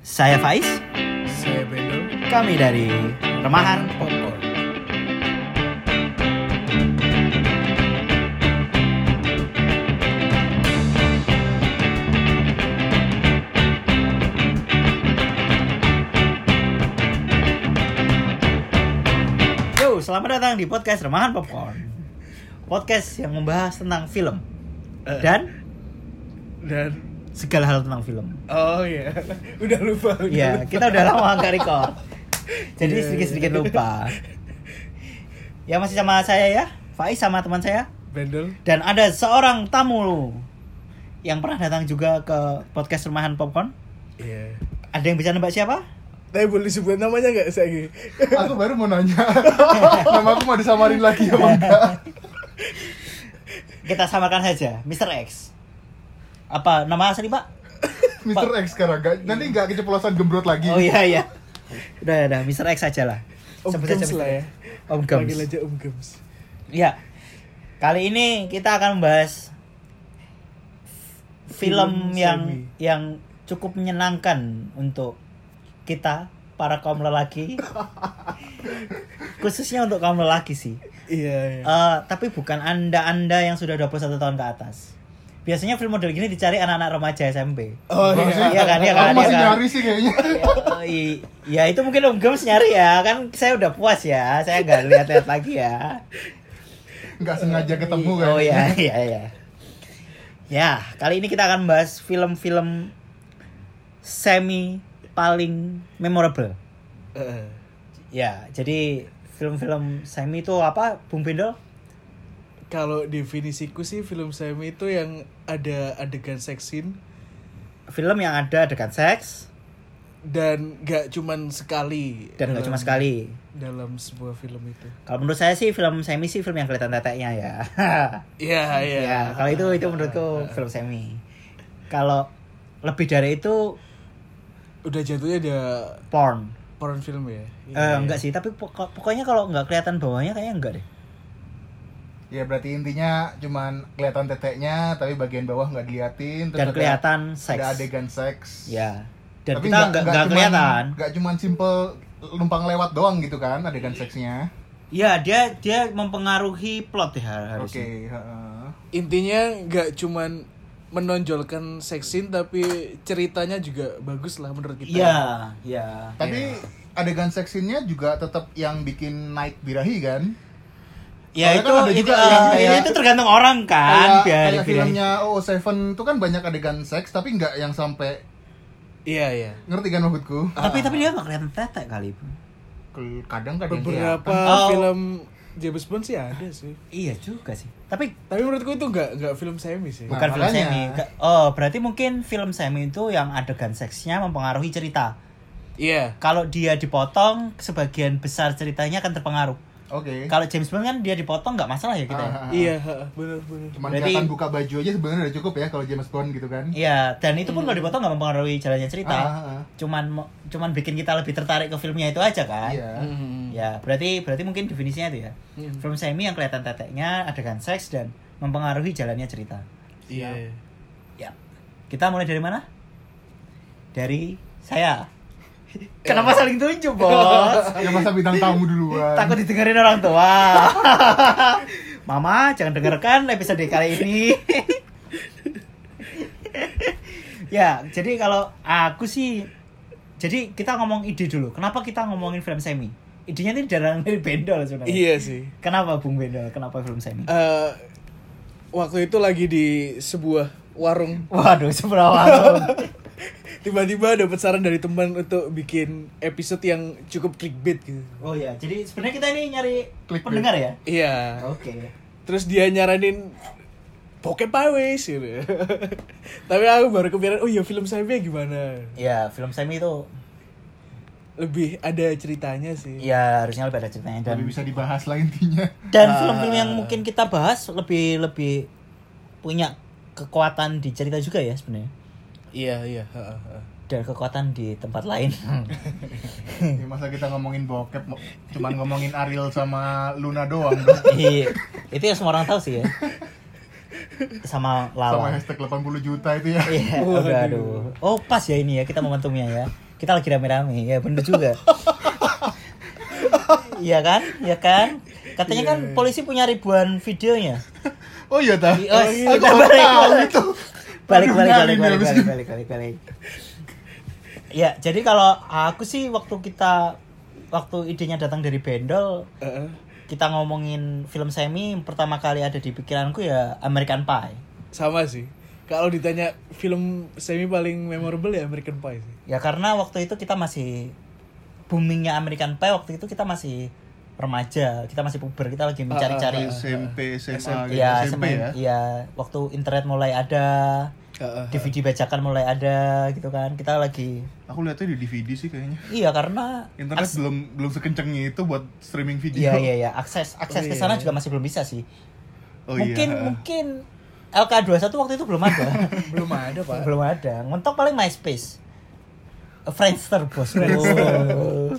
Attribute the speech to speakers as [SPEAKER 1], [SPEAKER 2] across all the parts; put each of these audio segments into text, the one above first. [SPEAKER 1] Saya Faiz,
[SPEAKER 2] Saya Bendo
[SPEAKER 1] kami dari Remahan.
[SPEAKER 2] Popcorn
[SPEAKER 1] Yo, selamat datang di podcast Remahan Popcorn. Podcast yang membahas tentang film dan
[SPEAKER 2] Eh, Dan
[SPEAKER 1] segala hal tentang film.
[SPEAKER 2] Oh iya Udah lupa udah
[SPEAKER 1] Iya,
[SPEAKER 2] lupa.
[SPEAKER 1] kita udah lama nggak record. Jadi
[SPEAKER 2] Iya,
[SPEAKER 1] sedikit-sedikit
[SPEAKER 2] iya.
[SPEAKER 1] lupa. Ya masih sama saya ya, Faiz sama teman saya.
[SPEAKER 2] Bendel
[SPEAKER 1] Dan ada seorang tamu yang pernah datang juga ke podcast Remahan Popcorn.
[SPEAKER 2] Iya
[SPEAKER 1] Ada yang bisa nebak siapa?
[SPEAKER 2] Tapi boleh sebut namanya nggak Sagi?
[SPEAKER 3] aku baru mau nanya nama aku mau disamarin lagi ya
[SPEAKER 1] Iya.
[SPEAKER 3] enggak
[SPEAKER 1] Kita samarkan saja, Mr. X. Apa nama asli, Pak?
[SPEAKER 3] Mr. X sekarang gak, nanti nggak keceplosan gembrot lagi
[SPEAKER 1] Oh iya iya. Udah udah Mr. X aja lah.
[SPEAKER 2] Gitu. Om
[SPEAKER 1] Sebut
[SPEAKER 2] Gems
[SPEAKER 1] aja
[SPEAKER 2] lah
[SPEAKER 1] Mr.
[SPEAKER 2] ya
[SPEAKER 1] X. Om
[SPEAKER 2] Panggil
[SPEAKER 1] Gems.
[SPEAKER 2] aja Om Gems
[SPEAKER 1] Iya. Kali ini kita akan membahas film,
[SPEAKER 2] Film
[SPEAKER 1] yang
[SPEAKER 2] semi.
[SPEAKER 1] yang cukup menyenangkan untuk kita para kaum lelaki. Khususnya untuk kaum lelaki sih.
[SPEAKER 2] Iya iya
[SPEAKER 1] Eh, tapi bukan Anda-anda yang sudah 21 tahun ke atas. Biasanya film model gini dicari anak-anak remaja SMP.
[SPEAKER 2] Oh iya
[SPEAKER 1] Iya kan, iya kan,
[SPEAKER 3] aku
[SPEAKER 1] iya
[SPEAKER 3] masih
[SPEAKER 1] kan.
[SPEAKER 3] nyari sih kayaknya
[SPEAKER 1] Oh, i- ya itu mungkin Om Gems nyari ya kan saya udah puas ya saya nggak lihat-lihat lagi ya
[SPEAKER 3] nggak sengaja ketemu kan
[SPEAKER 1] oh ya ya ya ya kali ini kita akan bahas film-film semi paling memorable Ah.
[SPEAKER 2] Eh,
[SPEAKER 1] ya jadi film-film semi itu apa Bung Bindol
[SPEAKER 2] Kalau definisiku sih film semi itu yang ada adegan sex scene
[SPEAKER 1] film yang ada adegan seks
[SPEAKER 2] dan gak cuman sekali
[SPEAKER 1] dan nggak
[SPEAKER 2] dalam-
[SPEAKER 1] cuma sekali
[SPEAKER 2] dalam sebuah film itu
[SPEAKER 1] kalau menurut saya sih film semi sih film yang kelihatan teteknya ya
[SPEAKER 2] Iya iya
[SPEAKER 1] ya kalau itu itu
[SPEAKER 3] Iya,
[SPEAKER 1] menurutku film semi kalau lebih dari itu
[SPEAKER 2] udah jatuhnya udah
[SPEAKER 1] porn
[SPEAKER 2] porn film ya
[SPEAKER 3] Iya,
[SPEAKER 1] Eh, enggak sih, tapi pokok- pokoknya kalau enggak kelihatan bawahnya kayaknya enggak deh.
[SPEAKER 3] ya berarti intinya cuman kelihatan teteknya tapi bagian bawah nggak diliatin
[SPEAKER 1] Dan
[SPEAKER 3] ada-
[SPEAKER 1] kelihatan
[SPEAKER 3] ada
[SPEAKER 1] seks.
[SPEAKER 3] adegan seks
[SPEAKER 1] Ya. Dan kita enggak enggak kelihatan.
[SPEAKER 3] nggak cuman simple numpang lewat doang gitu kan adegan seksnya
[SPEAKER 1] Ya, dia dia mempengaruhi plot ya
[SPEAKER 3] oke
[SPEAKER 1] harusnya.
[SPEAKER 3] heeh.
[SPEAKER 1] Iya.
[SPEAKER 2] intinya nggak cuman menonjolkan seks scene tapi ceritanya juga bagus lah menurut kita
[SPEAKER 1] Iya, iya.
[SPEAKER 3] gitu. tapi adegan seksinya juga tetap yang bikin naik birahi kan
[SPEAKER 1] Ya
[SPEAKER 3] Soalnya
[SPEAKER 1] itu
[SPEAKER 3] kan ada
[SPEAKER 1] itu,
[SPEAKER 3] juga yang
[SPEAKER 1] eh,
[SPEAKER 3] kayak-
[SPEAKER 1] itu tergantung orang kan biar
[SPEAKER 3] kayak
[SPEAKER 1] biar-
[SPEAKER 3] filmnya O7 itu kan banyak adegan seks tapi nggak yang sampai
[SPEAKER 2] iya iya
[SPEAKER 3] ngerti kan maksudku
[SPEAKER 1] Tapi tapi dia enggak kelihatan tetek kali. Bu.
[SPEAKER 3] Kel- kadang kadang
[SPEAKER 2] beberapa
[SPEAKER 1] Oh.
[SPEAKER 2] film James Bond sih ada sih
[SPEAKER 1] Iya juga sih. Tapi
[SPEAKER 2] tapi menurutku itu nggak nggak film semi sih
[SPEAKER 3] Nah,
[SPEAKER 1] bukan film
[SPEAKER 3] makanya.
[SPEAKER 1] semi. Ke- Oh, berarti mungkin film semi itu yang adegan seksnya mempengaruhi cerita.
[SPEAKER 2] iya
[SPEAKER 1] Kalau dia dipotong, sebagian besar ceritanya akan terpengaruh.
[SPEAKER 3] oke
[SPEAKER 1] Kalau James Bond kan dia dipotong nggak masalah ya kita. ya?
[SPEAKER 3] Ah, ah, ah.
[SPEAKER 2] iya ha, bener bener
[SPEAKER 3] cuman
[SPEAKER 1] Berarti-
[SPEAKER 3] kelihatan buka baju aja sebenarnya udah cukup ya kalau James Bond gitu kan
[SPEAKER 1] Iya, dan itu pun kalau dipotong nggak mempengaruhi jalannya cerita.
[SPEAKER 3] Ah, ah, ah.
[SPEAKER 1] Cuman mo- cuman bikin kita lebih tertarik ke filmnya itu aja kan.
[SPEAKER 3] iya
[SPEAKER 2] Mhm.
[SPEAKER 1] Ya, berarti berarti mungkin definisinya itu ya.
[SPEAKER 2] Mhm.
[SPEAKER 1] Film semi yang kelihatan teteknya, adegan seks dan mempengaruhi jalannya cerita.
[SPEAKER 2] iya
[SPEAKER 1] Ya. Kita mulai dari mana? Dari saya. Kenapa saling tunjuk, Bos?
[SPEAKER 3] ya masa bintang tamu duluan
[SPEAKER 1] Takut didengerin orang tua. Mama, jangan dengarkan episode kali ini. ya, jadi kalau aku sih jadi kita ngomong ide dulu. Kenapa kita ngomongin film semi? Idenya ini dari dari Bendol sebenarnya.
[SPEAKER 2] iya sih
[SPEAKER 1] Kenapa Bung Bendol? Kenapa film semi?
[SPEAKER 2] Eh, waktu itu lagi di sebuah warung
[SPEAKER 1] Waduh, seberapa
[SPEAKER 2] tiba-tiba dapat saran dari teman untuk bikin episode yang cukup clickbait gitu
[SPEAKER 1] Oh ya, jadi sebenarnya kita ini nyari
[SPEAKER 3] Clickbait.
[SPEAKER 1] pendengar ya.
[SPEAKER 2] iya
[SPEAKER 1] Oke.
[SPEAKER 2] terus dia nyaranin Pokep Highways gitu. Tapi aku baru kepikiran, oh iya film saya gimana?
[SPEAKER 1] Ya, film semi itu
[SPEAKER 2] Lebih ada ceritanya sih.
[SPEAKER 1] ya harusnya lebih Ah. ada ceritanya dan
[SPEAKER 3] tapi bisa dibahas lah intinya
[SPEAKER 1] dan film-film yang mungkin kita bahas lebih lebih punya kekuatan di cerita juga ya sebenarnya
[SPEAKER 2] Iya, iya. ha, ha, ha.
[SPEAKER 1] dan kekuatan di tempat lain
[SPEAKER 3] ya, masa kita ngomongin bokep mo- cuman ngomongin Ariel sama Luna doang dong.
[SPEAKER 1] Iya. itu yang semua orang tahu sih ya sama
[SPEAKER 3] sama
[SPEAKER 1] lawan
[SPEAKER 3] hashtag 80 juta itu ya
[SPEAKER 1] iya udah aduh oh pas ya ini ya kita momentumnya ya kita lagi rame-rame ya bener juga iya kan iya kan katanya kan polisi punya ribuan videonya
[SPEAKER 3] Oh iya ta.
[SPEAKER 1] Iya, iya.
[SPEAKER 3] Aku
[SPEAKER 1] Kita
[SPEAKER 3] baru
[SPEAKER 1] balik,
[SPEAKER 3] tahu
[SPEAKER 1] balik.
[SPEAKER 3] itu.
[SPEAKER 1] balik
[SPEAKER 3] Aduh,
[SPEAKER 1] balik
[SPEAKER 3] nyari
[SPEAKER 1] balik
[SPEAKER 3] nih
[SPEAKER 1] balik
[SPEAKER 3] habis
[SPEAKER 1] balik
[SPEAKER 3] ini.
[SPEAKER 1] balik balik balik ya jadi kalau aku sih waktu kita waktu idenya datang dari Bendol
[SPEAKER 2] Heeh.
[SPEAKER 1] kita ngomongin film semi pertama kali ada di pikiranku ya American Pie
[SPEAKER 2] sama sih kalau ditanya film semi paling memorable ya American Pie sih
[SPEAKER 1] ya karena waktu itu kita masih boomingnya American Pie waktu itu kita masih remaja kita masih puber kita lagi
[SPEAKER 3] Ah,
[SPEAKER 1] mencari-cari
[SPEAKER 3] SMP, SMA, gitu.
[SPEAKER 1] ya
[SPEAKER 3] SMP
[SPEAKER 1] semen-
[SPEAKER 3] ya.
[SPEAKER 1] iya, waktu internet mulai ada
[SPEAKER 2] Heeh.
[SPEAKER 3] Ah.
[SPEAKER 1] DVD bajakan mulai ada gitu kan kita lagi
[SPEAKER 3] Aku lihatnya di DVD sih kayaknya.
[SPEAKER 1] iya karena
[SPEAKER 3] Internet belum belum sekenceng itu buat streaming video.
[SPEAKER 1] Iya iya iya akses akses ke sana juga masih belum bisa sih.
[SPEAKER 3] Oh
[SPEAKER 1] mungkin
[SPEAKER 3] iya.
[SPEAKER 1] mungkin LK21 waktu itu belum ada.
[SPEAKER 2] belum ada pak
[SPEAKER 1] belum ada. Mentok paling MySpace. Friendster bos. Oh.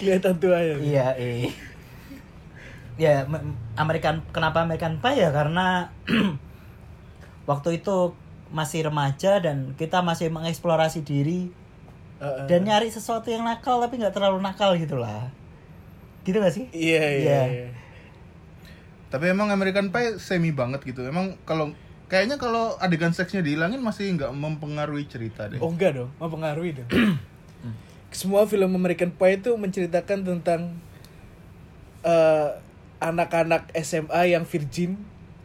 [SPEAKER 2] kelihatan tua ya
[SPEAKER 1] iya eh. Ya me- American kenapa American Pie ya karena waktu itu masih remaja dan kita masih mengeksplorasi diri
[SPEAKER 2] Heeh.
[SPEAKER 1] dan nyari sesuatu yang nakal tapi nggak terlalu nakal gitulah. Gitu gak sih?
[SPEAKER 2] iya iya
[SPEAKER 1] Iya.
[SPEAKER 2] iya.
[SPEAKER 3] Tapi emang American Pie semi banget gitu. Emang kalau kayaknya kalau adegan seksnya dihilangin masih nggak mempengaruhi cerita deh.
[SPEAKER 2] oh enggak dong mempengaruhi dong semua film American Pie itu menceritakan tentang eh, anak-anak SMA yang virgin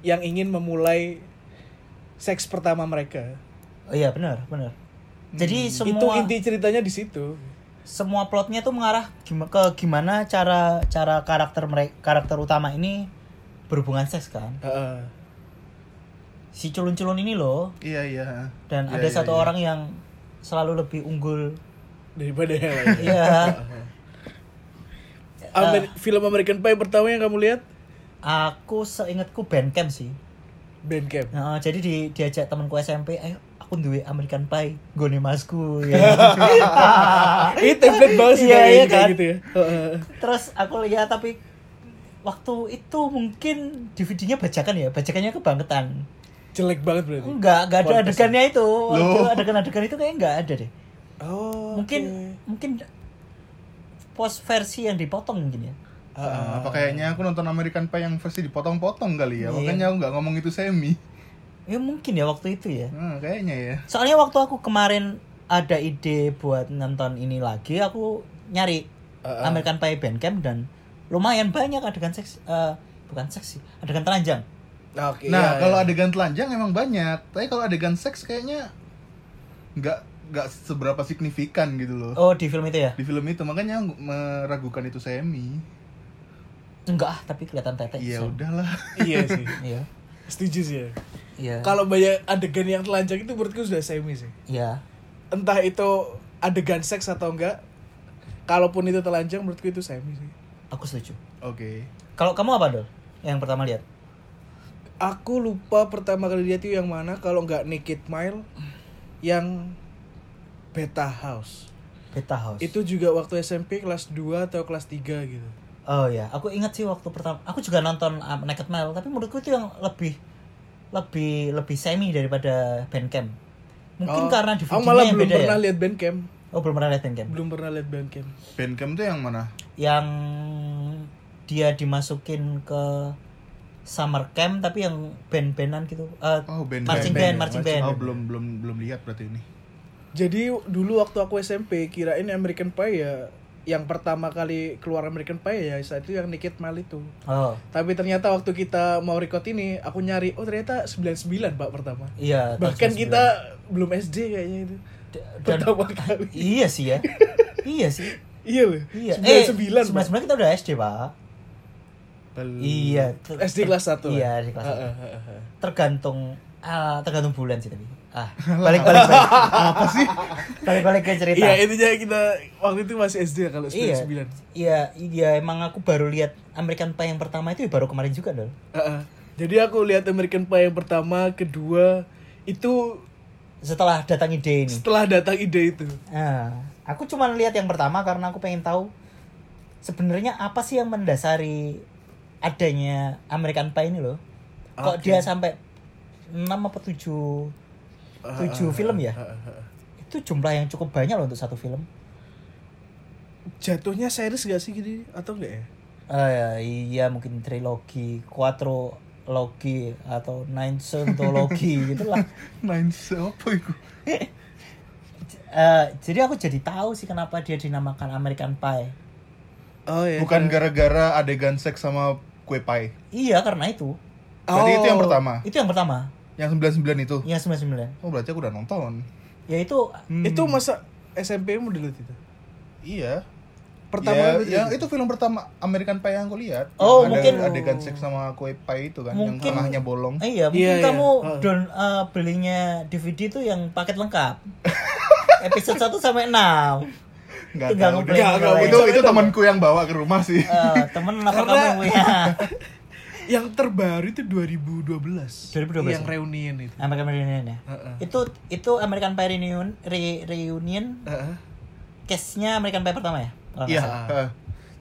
[SPEAKER 2] yang ingin memulai seks pertama mereka
[SPEAKER 1] Oh iya benar, benar.
[SPEAKER 3] Hmm,
[SPEAKER 1] Jadi semua
[SPEAKER 2] itu inti ceritanya di situ
[SPEAKER 1] semua plotnya tuh mengarah gima- ke gimana cara cara karakter mereka karakter utama ini berhubungan seks kan.
[SPEAKER 2] Heeh.
[SPEAKER 1] Si culun-culun ini loh
[SPEAKER 3] Iya iya.
[SPEAKER 1] dan
[SPEAKER 3] Iya,
[SPEAKER 1] ada
[SPEAKER 3] iya,
[SPEAKER 1] satu
[SPEAKER 3] iya.
[SPEAKER 1] orang yang selalu lebih unggul.
[SPEAKER 2] daripada yang lain
[SPEAKER 1] Iya.
[SPEAKER 2] Amer- film American Pie pertama yang kamu lihat
[SPEAKER 1] aku seingatku Bandcamp sih.
[SPEAKER 2] Bandcamp
[SPEAKER 1] Nah, jadi di, diajak temanku SMP, ayo "Eh, aku duwe American Pie, gone masku ya.
[SPEAKER 2] Ini template banget sih
[SPEAKER 1] Ah. Iya,
[SPEAKER 2] kayak
[SPEAKER 1] iya
[SPEAKER 2] gitu, kayak
[SPEAKER 1] kan?
[SPEAKER 2] gitu ya. Heeh.
[SPEAKER 1] Terus aku lihat tapi waktu itu mungkin DVD-nya bajakan ya, bajakannya kebangetan.
[SPEAKER 2] Jelek banget berarti.
[SPEAKER 1] Enggak, enggak ada
[SPEAKER 2] Kualitasnya.
[SPEAKER 1] adegannya itu. Waktu
[SPEAKER 3] Loh.
[SPEAKER 1] adegan-adegan itu kayaknya enggak ada deh.
[SPEAKER 2] Oh.
[SPEAKER 1] Mungkin mungkin post versi yang dipotong mungkin ya.
[SPEAKER 3] Ah, apa kayaknya aku nonton American Pie yang versi dipotong-potong kali ya. Makanya aku nggak ngomong itu semi.
[SPEAKER 1] Ya mungkin ya waktu itu ya.
[SPEAKER 3] Nah, kayaknya ya.
[SPEAKER 1] Soalnya waktu aku kemarin ada ide buat nonton ini lagi, aku nyari
[SPEAKER 2] Uh-uh.
[SPEAKER 1] American Pie Bandcamp dan lumayan banyak adegan seks eh, bukan seks sih, adegan telanjang.
[SPEAKER 2] Oke.
[SPEAKER 3] Nah,
[SPEAKER 2] iya,
[SPEAKER 3] kalau
[SPEAKER 2] iya.
[SPEAKER 3] adegan telanjang emang banyak, tapi kalau adegan seks kayaknya nggak nggak seberapa signifikan gitu loh.
[SPEAKER 1] Oh, di film itu ya?
[SPEAKER 3] Di film itu makanya aku meragukan itu semi.
[SPEAKER 1] Enggak ah, tapi kelihatan tetek.
[SPEAKER 3] Ya
[SPEAKER 1] Sam.
[SPEAKER 3] udahlah.
[SPEAKER 2] iya sih.
[SPEAKER 1] Iya.
[SPEAKER 2] Setuju sih ya.
[SPEAKER 1] Iya.
[SPEAKER 2] Kalau banyak adegan yang telanjang itu menurutku sudah semi sih.
[SPEAKER 1] Iya.
[SPEAKER 2] Entah itu adegan seks atau enggak. Kalaupun itu telanjang menurutku itu semi sih.
[SPEAKER 1] Aku setuju.
[SPEAKER 3] Oke.
[SPEAKER 1] Kalau kamu apa, Dol? Yang pertama lihat?
[SPEAKER 2] Aku lupa pertama kali lihat itu yang mana kalau enggak Naked Mile yang Beta House.
[SPEAKER 1] Beta House.
[SPEAKER 2] Itu juga waktu SMP kelas 2 atau kelas 3 gitu.
[SPEAKER 1] Oh ya, aku ingat sih waktu pertama. Aku juga nonton um, Naked Mile, tapi menurutku itu yang lebih lebih lebih semi daripada Bandcamp. Mungkin
[SPEAKER 2] Oh,
[SPEAKER 1] karena
[SPEAKER 2] aku
[SPEAKER 1] DVD-nya
[SPEAKER 2] malah
[SPEAKER 1] yang
[SPEAKER 2] belum
[SPEAKER 1] beda ya.
[SPEAKER 2] pernah lihat Bandcamp.
[SPEAKER 1] Oh, belum pernah lihat Bandcamp.
[SPEAKER 2] Belum pernah lihat Bandcamp.
[SPEAKER 3] Bandcamp tuh yang mana?
[SPEAKER 1] Yang dia dimasukin ke summer camp tapi yang band-bandan gitu. Eh,
[SPEAKER 3] Oh, band
[SPEAKER 1] marching band, marching band.
[SPEAKER 3] Oh, belum belum belum lihat berarti ini.
[SPEAKER 2] Jadi dulu waktu aku SMP kirain American Pie ya yang pertama kali keluar American Pie ya saat itu yang Naked Mile itu.
[SPEAKER 1] Oh,
[SPEAKER 2] Tapi ternyata waktu kita mau record ini aku nyari oh ternyata 99 Pak pertama.
[SPEAKER 1] iya. tahun
[SPEAKER 2] Bahkan
[SPEAKER 1] 99.
[SPEAKER 2] kita belum SD kayaknya itu.
[SPEAKER 1] D- dan-
[SPEAKER 2] Pertama kali.
[SPEAKER 1] Iya sih ya. iya sih.
[SPEAKER 2] Iya loh.
[SPEAKER 1] Iya.
[SPEAKER 2] 99 Pak.
[SPEAKER 1] sebenarnya kita udah SD, Pak.
[SPEAKER 3] Belum.
[SPEAKER 1] Iya. ter-
[SPEAKER 2] SD kelas Ah, 1.
[SPEAKER 1] Iya, SD kelas satu. tergantung ah, tergantung bulan sih tapi ah balik balik balik apa sih balik balik ke cerita
[SPEAKER 2] Iya, intinya kita waktu itu masih SD ya kalau 99.
[SPEAKER 1] iya iya iya emang aku baru lihat American Pie yang pertama itu ya baru kemarin juga dong
[SPEAKER 2] Heeh. Ah, Jadi aku lihat American Pie yang pertama, kedua itu
[SPEAKER 1] setelah datang ide ini
[SPEAKER 2] setelah datang ide itu.
[SPEAKER 1] ah, aku cuma lihat yang pertama karena aku pengen tahu sebenarnya apa sih yang mendasari adanya American Pie ini loh kok dia sampai 6 apa 7 7 film ya itu jumlah yang cukup banyak loh untuk satu film
[SPEAKER 2] Jatuhnya series gak sih gini atau enggak ya?
[SPEAKER 1] Eh, iya mungkin trilogi quadrologi atau ninthologi gitulah
[SPEAKER 3] Nine apa itu?
[SPEAKER 1] Eh, jadi aku jadi tahu sih kenapa dia dinamakan American Pie
[SPEAKER 2] Oh ya.
[SPEAKER 3] Bukan gara-gara adegan seks sama kue pai.
[SPEAKER 1] iya karena itu
[SPEAKER 3] Jadi itu yang pertama.
[SPEAKER 1] itu yang pertama
[SPEAKER 3] Yang 99 itu.
[SPEAKER 1] yang 99
[SPEAKER 3] Oh, berarti aku udah nonton.
[SPEAKER 1] yaitu
[SPEAKER 3] Hmm.
[SPEAKER 2] Itu masa SMP mu dulu itu.
[SPEAKER 3] Iya.
[SPEAKER 2] Pertama
[SPEAKER 3] Ya,
[SPEAKER 2] berarti
[SPEAKER 3] yang itu film pertama American Pie yang aku lihat.
[SPEAKER 1] Oh,
[SPEAKER 3] Yang ada
[SPEAKER 1] mungkin-
[SPEAKER 3] adegan seks sama kue pai itu kan yang
[SPEAKER 1] Mungkin-
[SPEAKER 3] tengahnya bolong.
[SPEAKER 1] Eh, iya mungkin
[SPEAKER 2] Iya, iya.
[SPEAKER 1] kamu
[SPEAKER 2] Heeh.
[SPEAKER 1] don- eh, belinya DVD itu yang paket lengkap episode 1 sampai 6
[SPEAKER 3] Enggak
[SPEAKER 1] Tinggal
[SPEAKER 3] tahu.
[SPEAKER 1] ngobrol
[SPEAKER 3] deh.
[SPEAKER 2] Nggak, nggak,
[SPEAKER 3] itu
[SPEAKER 2] nggak.
[SPEAKER 3] itu temanku yang bawa ke rumah sih.
[SPEAKER 1] Eh, temen apa
[SPEAKER 2] Karena-
[SPEAKER 1] kamu ya
[SPEAKER 2] Yang terbaru itu 2012.
[SPEAKER 1] 2012.
[SPEAKER 3] ya?
[SPEAKER 2] Yang reunion itu.
[SPEAKER 1] American Pie Reunion ya
[SPEAKER 2] Heeh.
[SPEAKER 1] itu itu American Pie Reunion re- reunion
[SPEAKER 2] Heeh.
[SPEAKER 1] case-nya American Pie pertama ya Kalau nggak
[SPEAKER 3] Iya.
[SPEAKER 2] Ah.
[SPEAKER 1] salah.
[SPEAKER 3] heeh.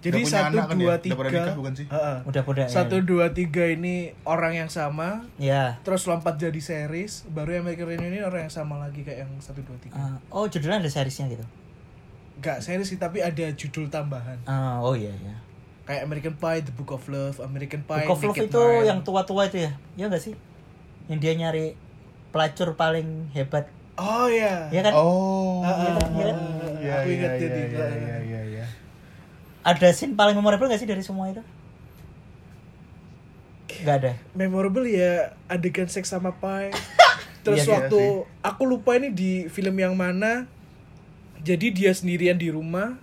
[SPEAKER 2] Jadi
[SPEAKER 3] Udah punya
[SPEAKER 2] satu
[SPEAKER 3] anak kan dia?
[SPEAKER 2] dua
[SPEAKER 3] Udah
[SPEAKER 2] tiga.
[SPEAKER 3] pernah nikah bukan sih?
[SPEAKER 2] Heeh.
[SPEAKER 1] udah udah ya.
[SPEAKER 2] Satu dua tiga ini orang yang sama.
[SPEAKER 1] ya
[SPEAKER 2] Terus lompat jadi series. Baru American Reunion ini orang yang sama lagi kayak yang satu dua tiga.
[SPEAKER 1] Eh, oh judulnya ada seriesnya gitu
[SPEAKER 2] Gak series sih tapi ada judul tambahan.
[SPEAKER 1] Eh, oh iya iya
[SPEAKER 2] Kayak American Pie, The Book of Love, American Pie,
[SPEAKER 1] Book of Love
[SPEAKER 2] Naked
[SPEAKER 1] itu
[SPEAKER 2] Mile.
[SPEAKER 1] yang tua-tua itu ya ya nggak sih yang dia nyari pelacur paling hebat
[SPEAKER 2] Oh ya.
[SPEAKER 1] ya kan
[SPEAKER 3] Oh.
[SPEAKER 2] Heeh.
[SPEAKER 1] Iya,
[SPEAKER 3] Iya,
[SPEAKER 2] Aku
[SPEAKER 3] iya,
[SPEAKER 2] ingat
[SPEAKER 3] iya,
[SPEAKER 2] jadi.
[SPEAKER 3] iya, iya, iya, iya.
[SPEAKER 1] ada scene paling memorable nggak sih dari semua itu nggak ada
[SPEAKER 2] memorable ya adegan seks sama Pai.
[SPEAKER 1] Iya
[SPEAKER 2] Terus
[SPEAKER 1] sih,
[SPEAKER 2] waktu
[SPEAKER 3] iya
[SPEAKER 2] aku lupa ini di film yang mana. Jadi dia sendirian di rumah.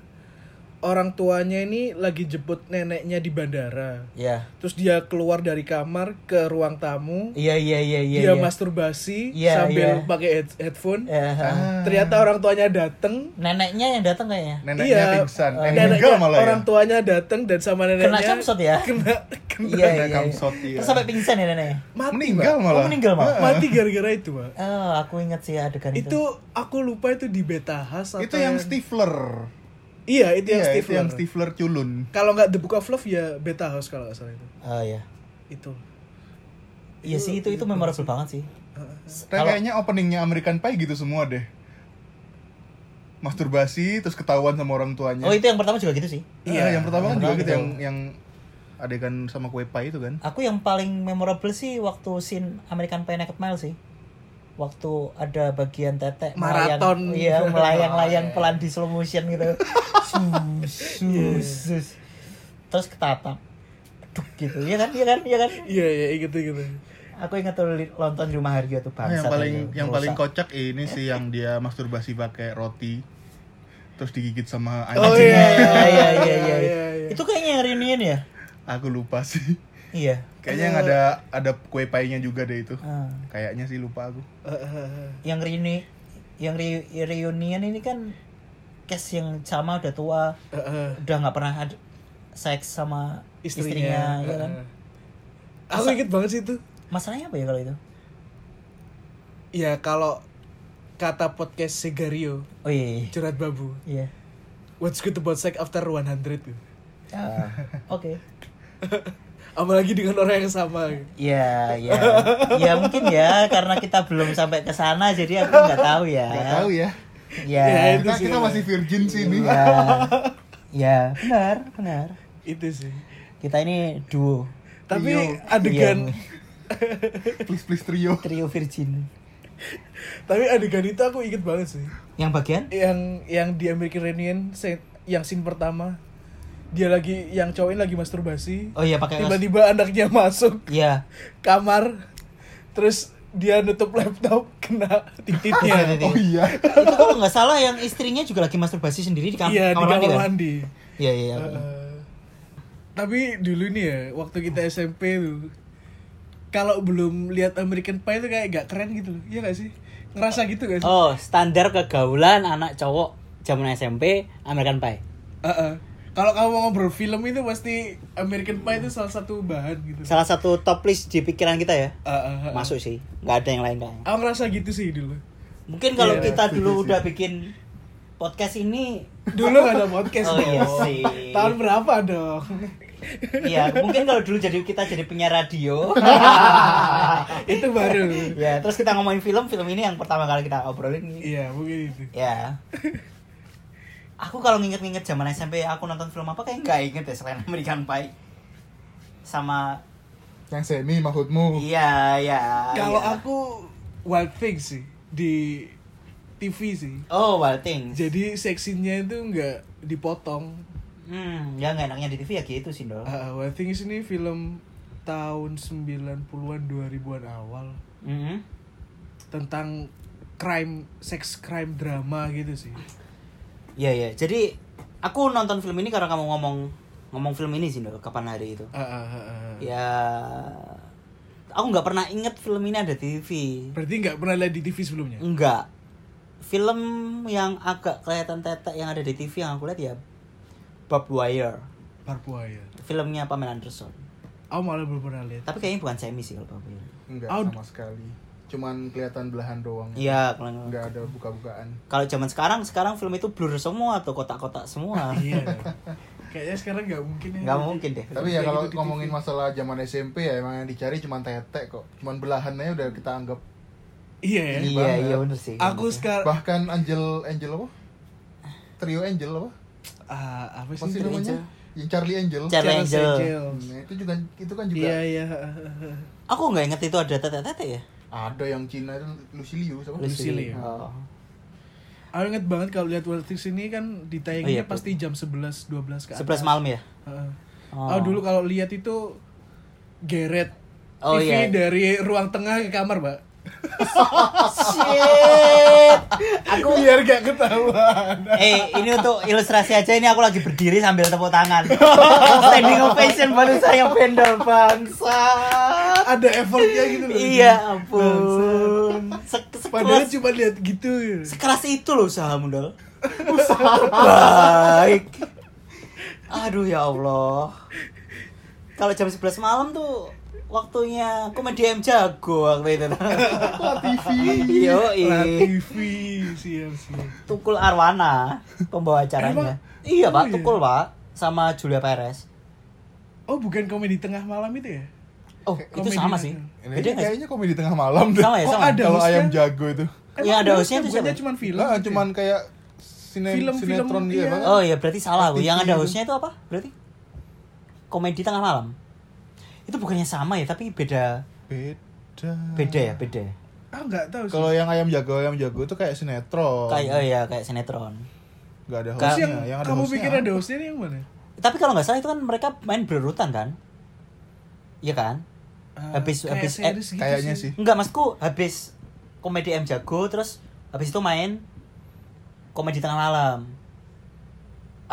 [SPEAKER 2] Orang tuanya ini lagi jemput neneknya di bandara.
[SPEAKER 1] ya
[SPEAKER 2] Terus dia keluar dari kamar ke ruang tamu.
[SPEAKER 1] iya iya iya iya
[SPEAKER 2] dia
[SPEAKER 1] iya.
[SPEAKER 2] masturbasi
[SPEAKER 1] Iya,
[SPEAKER 2] sambil
[SPEAKER 1] iya.
[SPEAKER 2] pakai head- headphone.
[SPEAKER 1] Ya, ha.
[SPEAKER 3] Ah,
[SPEAKER 2] Ternyata orang tuanya datang.
[SPEAKER 1] neneknya yang datang kayaknya
[SPEAKER 3] neneknya
[SPEAKER 2] iya,
[SPEAKER 3] pingsan. Eh,
[SPEAKER 2] neneknya-
[SPEAKER 3] meninggal malah ya.
[SPEAKER 2] orang tuanya datang dan sama neneknya
[SPEAKER 1] camsot ya?
[SPEAKER 2] Kena,
[SPEAKER 1] iya
[SPEAKER 2] kena-
[SPEAKER 1] iya,
[SPEAKER 3] Kena
[SPEAKER 1] iya.
[SPEAKER 3] kamsot, iya.
[SPEAKER 1] terus sampai pingsan ya neneknya
[SPEAKER 2] mati, Pak.
[SPEAKER 3] Meninggal malah.
[SPEAKER 1] Oh, meninggal malah.
[SPEAKER 2] Mati gara-gara itu, Pak.
[SPEAKER 1] oh aku ingat sih adegan itu
[SPEAKER 2] itu aku lupa itu di beta khas
[SPEAKER 3] Itu yang Stifler.
[SPEAKER 2] iya itu yang
[SPEAKER 3] Iya,
[SPEAKER 2] Steve
[SPEAKER 3] itu yang Stifler culun.
[SPEAKER 2] kalau nggak The Book of Love ya beta house kalau nggak salah itu
[SPEAKER 1] oh iya
[SPEAKER 2] itu
[SPEAKER 1] Iya sih itu itu memorable banget sih.
[SPEAKER 3] Tapi kayaknya openingnya American Pie gitu semua deh. Masturbasi terus ketahuan sama orang tuanya.
[SPEAKER 1] Oh itu yang pertama juga gitu sih.
[SPEAKER 3] iya, yang pertama kan
[SPEAKER 1] pertama
[SPEAKER 3] juga gitu
[SPEAKER 1] gitu.
[SPEAKER 3] yang yang adegan sama kue pai itu kan.
[SPEAKER 1] Aku yang paling memorable sih waktu scene American Pie Naked Mile sih. Waktu ada bagian tetek melayang-
[SPEAKER 2] Maraton.
[SPEAKER 1] iya melayang-layang pelan di slow motion gitu. sus, sus, sus. Terus ketatap. Duk gitu. Iya kan? Iya kan? Iya kan?
[SPEAKER 2] iya iya gitu gitu
[SPEAKER 1] Aku ingat tuh li- nonton di rumah Harjo tuh bangsa.
[SPEAKER 3] Nah, yang paling yang paling kocak ini sih yang dia masturbasi pakai roti terus digigit sama anjing.
[SPEAKER 2] Oh, iya.
[SPEAKER 1] Iya iya iya iya.
[SPEAKER 2] Iya, iya.
[SPEAKER 1] Itu kayaknya yang reunion ya?
[SPEAKER 3] Aku lupa sih.
[SPEAKER 1] Iya.
[SPEAKER 3] Kayaknya yang ada ada kue painya juga deh itu.
[SPEAKER 1] Ah.
[SPEAKER 3] Kayaknya sih lupa aku.
[SPEAKER 1] yang reuni yang re- reunion ini kan case yang sama udah tua udah nggak pernah ada seks sama istrinya, ya kan
[SPEAKER 2] aku inget banget sih itu
[SPEAKER 1] masalahnya apa ya kalau itu
[SPEAKER 2] ya kalau kata podcast Segario
[SPEAKER 1] oh iya iya,
[SPEAKER 2] curhat babu
[SPEAKER 1] iya
[SPEAKER 2] what's good about sex after 100 gitu.
[SPEAKER 1] Ah, oke
[SPEAKER 2] apalagi dengan orang yang sama gitu.
[SPEAKER 1] ya ya ya mungkin ya karena kita belum sampai ke sana jadi aku nggak tahu ya
[SPEAKER 3] Gak tahu
[SPEAKER 1] ya
[SPEAKER 3] ya.
[SPEAKER 2] Ya, itu
[SPEAKER 3] Kita,
[SPEAKER 2] sih. Iya.
[SPEAKER 3] kita masih virgin sih nih.
[SPEAKER 1] ya ya benar benar
[SPEAKER 2] itu sih
[SPEAKER 1] kita ini duo
[SPEAKER 2] tapi
[SPEAKER 3] Trio.
[SPEAKER 2] adegan
[SPEAKER 1] Iya.
[SPEAKER 3] Please please trio.
[SPEAKER 1] trio virgin
[SPEAKER 2] tapi adegan itu aku inget banget sih
[SPEAKER 1] yang bagian
[SPEAKER 2] yang yang di American Reunion se- yang scene pertama dia lagi yang cowok ini lagi masturbasi
[SPEAKER 1] oh iya pakai kaos.
[SPEAKER 2] tiba-tiba anaknya masuk
[SPEAKER 1] iya
[SPEAKER 2] kamar terus dia nutup laptop kena titiknya
[SPEAKER 1] Oh,
[SPEAKER 3] Oh iya.
[SPEAKER 1] itu kalau nggak salah yang istrinya juga lagi masturbasi sendiri di, kam-
[SPEAKER 2] iya di
[SPEAKER 1] kamar mandi
[SPEAKER 2] kamar
[SPEAKER 1] kan?
[SPEAKER 2] mandi
[SPEAKER 1] Iya iya. iya.
[SPEAKER 2] Eh, tapi dulu nih ya waktu kita SMP tuh kalau belum lihat American Pie tuh kayak gak keren gitu loh iya gak sih ngerasa gitu gak sih
[SPEAKER 4] Oh, standar kegaulan anak cowok zaman SMP American Pie.
[SPEAKER 2] Heeh. kalau kamu mau ngobrol film itu pasti American Pie itu salah satu bahan gitu
[SPEAKER 4] Salah satu top list di pikiran kita ya.
[SPEAKER 2] Heeh, heeh.
[SPEAKER 4] Masuk sih, nggak ada yang lain kayaknya.
[SPEAKER 2] Ah, Aku ngerasa gitu sih dulu.
[SPEAKER 1] Mungkin kalau
[SPEAKER 2] Iya,
[SPEAKER 1] kita dulu
[SPEAKER 3] setuju
[SPEAKER 1] udah bikin podcast ini
[SPEAKER 2] Dulu gak ada podcast
[SPEAKER 1] Oh, iya
[SPEAKER 2] dong.
[SPEAKER 1] sih.
[SPEAKER 2] Tahun berapa dong?
[SPEAKER 1] Iya, mungkin kalau dulu jadi kita jadi penyiar radio.
[SPEAKER 2] itu baru
[SPEAKER 1] ya, terus kita ngomongin film, film ini yang pertama kali kita obrolin nih.
[SPEAKER 2] iya mungkin itu
[SPEAKER 1] Ya. Aku kalau nginget-nginget zaman SMP aku nonton film apa kayak nggak inget ya selain American Pie. Sama
[SPEAKER 3] Yang semi maksudmu.
[SPEAKER 1] iya ya.
[SPEAKER 2] Oh. kalau
[SPEAKER 1] iya.
[SPEAKER 2] aku wild thing sih di TV sih
[SPEAKER 1] Oh, Wild Things.
[SPEAKER 2] jadi seksinya itu nggak dipotong
[SPEAKER 1] Hmm, ya nggak enaknya di TV ya gitu sih, Dol.
[SPEAKER 2] Ah, Wild Things ini film tahun 90-an 2000-an awal
[SPEAKER 1] Mhm.
[SPEAKER 2] tentang crime sex crime drama gitu sih
[SPEAKER 1] Iya, iya. Jadi aku nonton film ini karena kamu ngomong ngomong film ini sih, Dol, kapan hari itu.
[SPEAKER 2] Ah, ah, ah, ah.
[SPEAKER 1] Ya aku nggak pernah inget film ini ada di TV.
[SPEAKER 2] berarti nggak pernah lihat di TV sebelumnya
[SPEAKER 1] Enggak. Film yang agak kelihatan tetek yang ada di TV yang aku lihat ya Bob Wire.
[SPEAKER 2] Papua ya
[SPEAKER 1] Filmnya Pamela Anderson.
[SPEAKER 2] aku malah belum pernah lihat
[SPEAKER 1] Tapi kayaknya bukan semi sih kalau Bob
[SPEAKER 2] Iya.
[SPEAKER 1] Wire.
[SPEAKER 3] Enggak
[SPEAKER 2] Out.
[SPEAKER 3] sama sekali. Cuman kelihatan belahan doang.
[SPEAKER 1] Iya, kalau
[SPEAKER 3] Enggak ada buka-bukaan.
[SPEAKER 1] kalau zaman sekarang sekarang film itu blur semua atau kotak-kotak semua.
[SPEAKER 2] iya kayaknya sekarang nggak mungkin ya
[SPEAKER 1] Nggak mungkin deh.
[SPEAKER 3] Tapi ya
[SPEAKER 2] Kayak
[SPEAKER 3] kalau
[SPEAKER 2] gitu di
[SPEAKER 3] ngomongin
[SPEAKER 2] TV.
[SPEAKER 3] masalah zaman SMP ya emang yang dicari cuman tetek kok. Cuman belahannya udah kita anggap
[SPEAKER 2] iya ya
[SPEAKER 1] Iya, iya bener sih. Bener
[SPEAKER 2] aku
[SPEAKER 1] sih.
[SPEAKER 2] sekarang
[SPEAKER 3] bahkan Angel Angel apa? Trio Angel apa?
[SPEAKER 2] ah, apa
[SPEAKER 3] Apa
[SPEAKER 2] sih
[SPEAKER 3] sih
[SPEAKER 2] itu?
[SPEAKER 3] namanya? Yang Charlie Angel.
[SPEAKER 1] Charlie
[SPEAKER 2] Charles
[SPEAKER 1] Angel.
[SPEAKER 2] Angels.
[SPEAKER 3] Nah, itu juga itu kan juga
[SPEAKER 2] iya iya
[SPEAKER 1] Aku nggak inget itu ada tetek-tetek ya.
[SPEAKER 3] ada yang Cina itu Lucilius apa?
[SPEAKER 2] Lu- Lucy Liu.
[SPEAKER 1] Oh.
[SPEAKER 2] Aku inget banget kalau lihat World Things ini kan ditayanginnya
[SPEAKER 1] Oh, iya,
[SPEAKER 2] pasti jam 11 12 ke atas.
[SPEAKER 1] 11 malam ya?
[SPEAKER 2] Heeh.
[SPEAKER 1] Oh.
[SPEAKER 2] Aku dulu kalau lihat itu geret
[SPEAKER 1] Oh,
[SPEAKER 2] TV
[SPEAKER 1] iya.
[SPEAKER 2] dari ruang tengah ke kamar, Mbak.
[SPEAKER 1] Oh. Shit. Aku
[SPEAKER 2] Biar gak ketahuan.
[SPEAKER 1] Eh, ini untuk ilustrasi aja ini aku lagi berdiri sambil tepuk tangan. Standing ovation baru saya bendel bangsat.
[SPEAKER 2] Ada effortnya gitu loh.
[SPEAKER 1] Iya ampun. Se
[SPEAKER 2] Padahal
[SPEAKER 1] sekelas,
[SPEAKER 2] cuma lihat gitu.
[SPEAKER 1] sekelas itu loh usaha mundol. Usaha baik. Aduh ya Allah. Kalau jam 11 malam tuh waktunya komedi M jago waktu itu. TV. Yo, iya.
[SPEAKER 2] Lah, TV siap siap.
[SPEAKER 1] Tukul Arwana pembawa acaranya.
[SPEAKER 2] Emang?
[SPEAKER 1] Iya
[SPEAKER 2] Oh,
[SPEAKER 1] pak,
[SPEAKER 2] iya.
[SPEAKER 1] Tukul pak sama Julia Perez.
[SPEAKER 2] Oh, bukan komedi tengah malam itu ya?
[SPEAKER 1] Oh itu
[SPEAKER 2] Komedi
[SPEAKER 1] sama
[SPEAKER 2] aja.
[SPEAKER 1] sih.
[SPEAKER 3] Ini
[SPEAKER 1] Beda nggak sih?
[SPEAKER 3] kayaknya komedi tengah malam deh.
[SPEAKER 1] Sama ya,
[SPEAKER 2] Oh,
[SPEAKER 1] sama.
[SPEAKER 2] ada
[SPEAKER 3] Kalau
[SPEAKER 2] hostnya.
[SPEAKER 3] ayam jago itu.
[SPEAKER 1] Iya,
[SPEAKER 2] Emang
[SPEAKER 1] ada
[SPEAKER 2] dia
[SPEAKER 1] hostnya itu
[SPEAKER 2] Kan bukannya
[SPEAKER 1] siapa?
[SPEAKER 2] cuma film.
[SPEAKER 3] Nah,
[SPEAKER 2] gitu
[SPEAKER 3] cuman kayak sine
[SPEAKER 2] Film-film,
[SPEAKER 3] sinetron gitu ya,
[SPEAKER 2] iya.
[SPEAKER 3] Bang.
[SPEAKER 1] Oh iya berarti salah aku.
[SPEAKER 3] FTV
[SPEAKER 1] Yang ada
[SPEAKER 3] itu.
[SPEAKER 1] hostnya itu apa? Berarti komedi tengah malam. Itu bukannya sama ya tapi beda
[SPEAKER 3] Beda.
[SPEAKER 1] beda ya beda. ya.
[SPEAKER 2] ya? Ah, enggak tahu sih.
[SPEAKER 3] Kalau yang ayam jago, ayam jago itu kayak sinetron.
[SPEAKER 1] Kayak oh iya kayak sinetron.
[SPEAKER 3] Gak ada
[SPEAKER 1] Terus
[SPEAKER 2] Terus
[SPEAKER 3] hostnya.
[SPEAKER 2] yang,
[SPEAKER 3] Yang ada
[SPEAKER 2] kamu
[SPEAKER 3] hostnya
[SPEAKER 2] pikir ada hostnya ini yang mana?
[SPEAKER 1] Tapi kalau nggak salah itu kan mereka main berurutan kan? Iya kan?
[SPEAKER 2] Ah,
[SPEAKER 1] Habis-
[SPEAKER 2] kayak
[SPEAKER 1] habis-
[SPEAKER 2] series gitu
[SPEAKER 3] kayaknya sih.
[SPEAKER 1] Enggak maksudku habis komedi M jago terus habis itu main komedi tengah malam.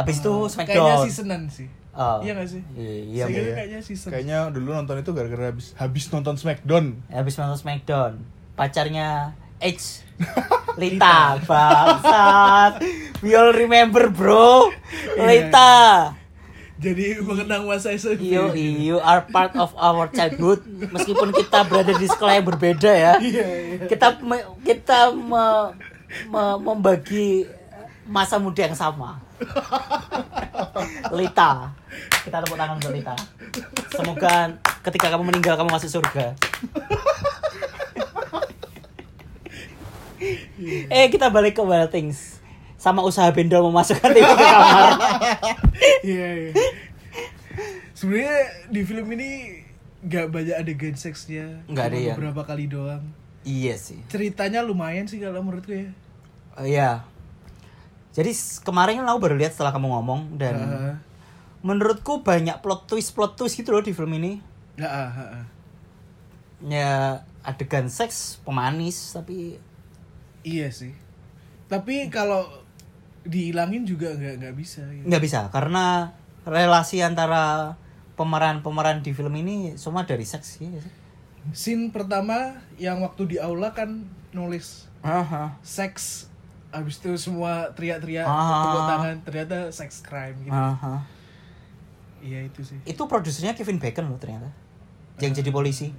[SPEAKER 1] Habis itu
[SPEAKER 2] Ah, Kayaknya
[SPEAKER 1] Smackdown.
[SPEAKER 2] seasonan sih.
[SPEAKER 1] Oh.
[SPEAKER 2] Iya nggak sih?
[SPEAKER 1] Iya,
[SPEAKER 2] Saya
[SPEAKER 1] iya.
[SPEAKER 2] kira
[SPEAKER 3] iya.
[SPEAKER 2] kayaknya season.
[SPEAKER 3] Kayaknya dulu nonton itu gara-gara habis habis nonton Smackdown.
[SPEAKER 1] Habis nonton Smackdown, pacarnya H Lita bangsat. We all remember, bro.
[SPEAKER 2] Iya.
[SPEAKER 1] Lita.
[SPEAKER 2] Jadi mengenang masa SMP.
[SPEAKER 1] You you are part of our childhood meskipun kita berada di sekolah yang berbeda ya. Kita me- kita me- me- membagi masa muda yang sama. Lita. Kita tepuk tangan untuk Lita. Semoga ketika kamu meninggal kamu masuk surga. eh kita balik ke Wild Things sama usaha bendol memasukkan itu ke kamar.
[SPEAKER 2] Iya, iya. Sebenarnya di film ini nggak banyak adegan seksnya.
[SPEAKER 1] Nggak ada
[SPEAKER 2] Cuma
[SPEAKER 1] ya.
[SPEAKER 2] Beberapa kali doang.
[SPEAKER 1] Iya sih.
[SPEAKER 2] Ceritanya lumayan sih kalau menurutku ya.
[SPEAKER 1] Oh iya. Jadi s- kemarin kan aku baru lihat setelah kamu ngomong dan
[SPEAKER 2] Ah,
[SPEAKER 1] menurutku banyak plot twist plot twist gitu loh di film ini.
[SPEAKER 2] ah, ah, ah, ah.
[SPEAKER 1] Ya adegan seks pemanis tapi
[SPEAKER 2] Iya sih. Tapi kalau dihilangin juga nggak nggak bisa. gitu.
[SPEAKER 1] nggak bisa karena relasi antara pemeran-pemeran di film ini semua dari seks ya.
[SPEAKER 2] Scene pertama yang waktu di aula kan nulis seks habis itu semua teriak-teriak
[SPEAKER 1] Ah.
[SPEAKER 2] tepuk tangan ternyata sex crime gitu. Iya itu sih.
[SPEAKER 1] Itu produsernya Kevin Bacon loh ternyata. Yang jadi polisi.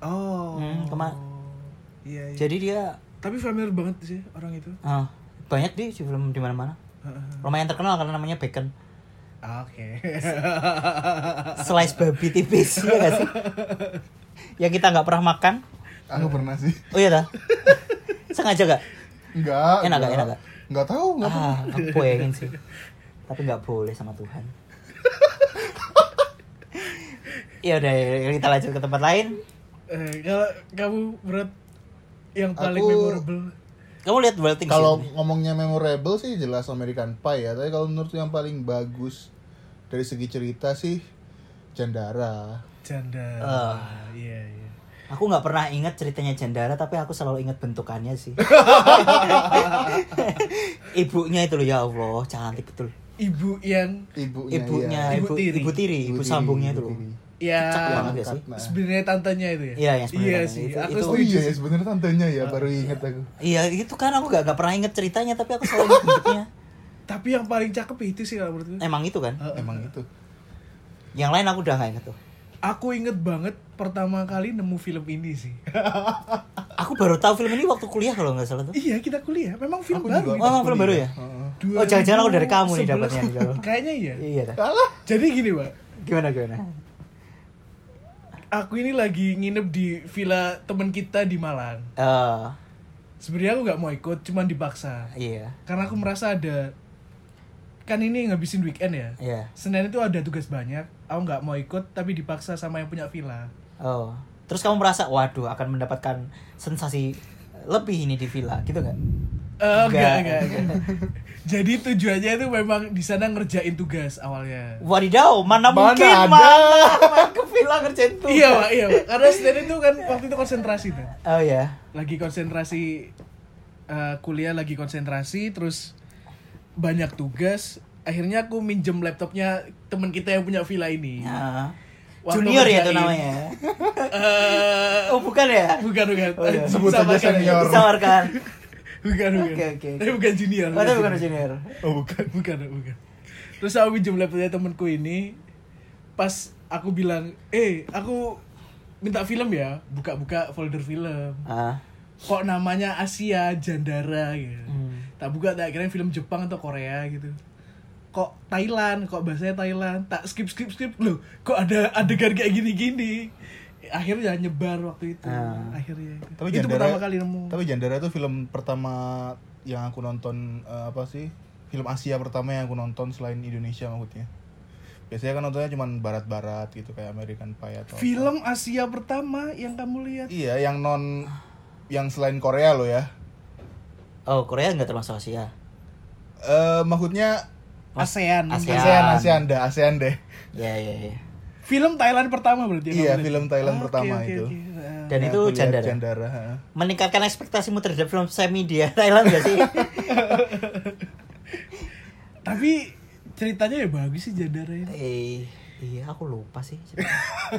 [SPEAKER 2] Oh.
[SPEAKER 1] Hmm, kema-
[SPEAKER 2] Iya, iya.
[SPEAKER 1] Jadi dia
[SPEAKER 2] Tapi familiar banget sih orang itu.
[SPEAKER 1] ah, banyak di di film di mana-mana.
[SPEAKER 2] Heeh.
[SPEAKER 1] Lumayan terkenal karena namanya Bacon.
[SPEAKER 2] Oke.
[SPEAKER 1] Slice babi tipis ya gak sih? Yang kita nggak pernah makan.
[SPEAKER 3] Aku pernah sih.
[SPEAKER 1] Oh iya dah. Sengaja gak?
[SPEAKER 3] Enggak.
[SPEAKER 1] Enak gak, enak gak?
[SPEAKER 3] Enggak tahu, enggak pernah.
[SPEAKER 1] Ah, aku pengen sih. Tapi nggak boleh sama Tuhan. ya udah ya, kita lanjut ke tempat lain.
[SPEAKER 2] Eh, kalau kamu berat yang paling
[SPEAKER 3] Aku-
[SPEAKER 2] memorable
[SPEAKER 1] Kamu lihat Wild Things
[SPEAKER 3] Kalau
[SPEAKER 1] ya?
[SPEAKER 3] ngomongnya memorable sih jelas American Pie ya. Tapi kalau menurut yang paling bagus dari segi cerita sih Jandara.
[SPEAKER 2] janda.
[SPEAKER 1] Ah.
[SPEAKER 2] Iya, iya.
[SPEAKER 1] Aku nggak pernah ingat ceritanya Jandara, tapi aku selalu ingat bentukannya sih. Ibunya itu loh ya Allah, cantik betul.
[SPEAKER 2] Ibu yang
[SPEAKER 3] Ibunya.
[SPEAKER 1] Ibunya,
[SPEAKER 3] iya.
[SPEAKER 2] Ibu
[SPEAKER 1] ibu,
[SPEAKER 2] tiri.
[SPEAKER 1] ibu tiri, ibu,
[SPEAKER 3] tiri,
[SPEAKER 1] sambungnya
[SPEAKER 3] ibu
[SPEAKER 1] itu loh.
[SPEAKER 3] tiri.
[SPEAKER 2] ya
[SPEAKER 1] Cakep banget ya sih.
[SPEAKER 3] Nah.
[SPEAKER 2] sebenarnya tantenya itu ya.
[SPEAKER 1] Iya, yang sebenarnya tantenya.
[SPEAKER 2] sih.
[SPEAKER 1] Itu-
[SPEAKER 2] aku
[SPEAKER 1] itu-
[SPEAKER 3] Oh
[SPEAKER 2] setuju
[SPEAKER 3] iya, ya,
[SPEAKER 2] sih.
[SPEAKER 3] sebenarnya tantenya ya baru inget aku.
[SPEAKER 1] Iya itu kan aku gak, gak pernah inget ceritanya, tapi aku selalu ingat bentuknya.
[SPEAKER 2] Tapi yang paling cakep itu sih kalau menurutku.
[SPEAKER 1] Emang itu kan?
[SPEAKER 2] Heeh.
[SPEAKER 3] Emang itu.
[SPEAKER 1] Yang lain aku udah gak inget tuh.
[SPEAKER 2] Aku inget banget pertama kali nemu film ini sih.
[SPEAKER 1] Aku baru tahu film ini waktu kuliah kalau nggak salah tuh.
[SPEAKER 2] iya, kita kuliah. Memang film
[SPEAKER 3] Aku
[SPEAKER 2] baru.
[SPEAKER 3] juga.
[SPEAKER 1] Oh, emang film baru ya?
[SPEAKER 3] Heeh.
[SPEAKER 1] Oh, jangan-jangan aku dari kamu nih
[SPEAKER 2] 2011.
[SPEAKER 1] dapatnya nih, kalau.
[SPEAKER 2] Kayaknya iya.
[SPEAKER 1] Iya dah.
[SPEAKER 3] Alah.
[SPEAKER 2] Jadi gini, Pak.
[SPEAKER 1] Gimana gimana?
[SPEAKER 2] Aku ini lagi nginep di villa temen kita di Malang.
[SPEAKER 1] Eh,
[SPEAKER 2] Sebenarnya aku nggak mau ikut, cuman dipaksa.
[SPEAKER 1] iya.
[SPEAKER 2] Karena aku merasa ada kan ini ngabisin weekend ya.
[SPEAKER 1] Iya.
[SPEAKER 2] Senin itu ada tugas banyak. Aku nggak mau ikut, tapi dipaksa sama yang punya villa.
[SPEAKER 1] Oh. Terus kamu merasa, waduh, akan mendapatkan sensasi lebih ini di villa, gitu nggak?
[SPEAKER 2] Eh, enggak,
[SPEAKER 1] Enggak.
[SPEAKER 2] enggak, enggak. Jadi tujuannya itu memang di sana ngerjain tugas awalnya.
[SPEAKER 1] Wadidaw, mana,
[SPEAKER 3] Mana
[SPEAKER 1] mungkin
[SPEAKER 3] ada?
[SPEAKER 1] mana main ke villa ngerjain tugas.
[SPEAKER 2] Iya, Pak, iya, Pak. Karena Senin itu kan waktu itu konsentrasi tuh.
[SPEAKER 1] Oh ya.
[SPEAKER 2] Lagi konsentrasi eh, kuliah lagi konsentrasi terus banyak tugas. Akhirnya aku minjem laptopnya teman kita yang punya villa ini.
[SPEAKER 1] Nah.
[SPEAKER 2] Waktu
[SPEAKER 1] Junior ya itu
[SPEAKER 2] ngerjain.
[SPEAKER 1] namanya.
[SPEAKER 2] Eh,
[SPEAKER 1] Oh bukan ya?
[SPEAKER 2] bukan, bukan.
[SPEAKER 1] Oh, iya.
[SPEAKER 3] Sebut
[SPEAKER 2] Sama
[SPEAKER 3] aja
[SPEAKER 2] kayak- gitu.
[SPEAKER 3] senior.
[SPEAKER 1] Disawarkan.
[SPEAKER 2] Bukan,
[SPEAKER 1] Oke,
[SPEAKER 2] bukan.
[SPEAKER 1] oke, oke.
[SPEAKER 2] Tapi bukan junior.
[SPEAKER 1] Oh, itu bukan junior.
[SPEAKER 2] Oh bukan, bukan, bukan. Terus aku pinjam laptopnya temenku ini. Pas aku bilang, eh aku minta film ya, buka-buka folder film.
[SPEAKER 1] Ah.
[SPEAKER 2] Kok namanya Asia Jandara gitu.
[SPEAKER 1] Hmm.
[SPEAKER 2] Tak buka, tak kira film Jepang atau Korea gitu. Kok Thailand, kok bahasanya Thailand. Tak skip, skip, skip. Loh, kok ada adegan kayak gini-gini. Akhirnya nyebar waktu itu.
[SPEAKER 1] Ah.
[SPEAKER 2] Akhirnya itu.
[SPEAKER 3] Tapi
[SPEAKER 2] itu
[SPEAKER 3] Jandara-
[SPEAKER 2] pertama kali nemu.
[SPEAKER 3] Tapi Jandara itu film pertama yang aku nonton eh, apa sih? Film Asia pertama yang aku nonton selain Indonesia maksudnya. Biasanya kan nontonnya cuman barat-barat gitu kayak American Pie atau apa.
[SPEAKER 2] Film Asia pertama yang kamu lihat.
[SPEAKER 3] Iya, yang non yang selain Korea loh ya.
[SPEAKER 1] Oh, Korea nggak termasuk Asia.
[SPEAKER 3] Eh maksudnya
[SPEAKER 1] ASEAN.
[SPEAKER 2] ASEAN.
[SPEAKER 3] ASEAN, ASEAN deh, ASEAN deh.
[SPEAKER 1] Iya, iya, iya.
[SPEAKER 2] Film Thailand pertama berarti.
[SPEAKER 3] Iya,
[SPEAKER 2] namanya?
[SPEAKER 3] film Thailand
[SPEAKER 2] Oke,
[SPEAKER 3] pertama
[SPEAKER 2] oke,
[SPEAKER 3] itu.
[SPEAKER 2] oke. Ah.
[SPEAKER 1] Dan
[SPEAKER 3] Yang
[SPEAKER 1] itu
[SPEAKER 3] aku lihat
[SPEAKER 1] jandara.
[SPEAKER 3] Jandara. ha.
[SPEAKER 1] Meningkatkan ekspektasimu terhadap film semi dia Thailand gak sih?
[SPEAKER 2] Tapi ceritanya ya bagus sih Jandara ini.
[SPEAKER 1] eh, iya, aku lupa sih.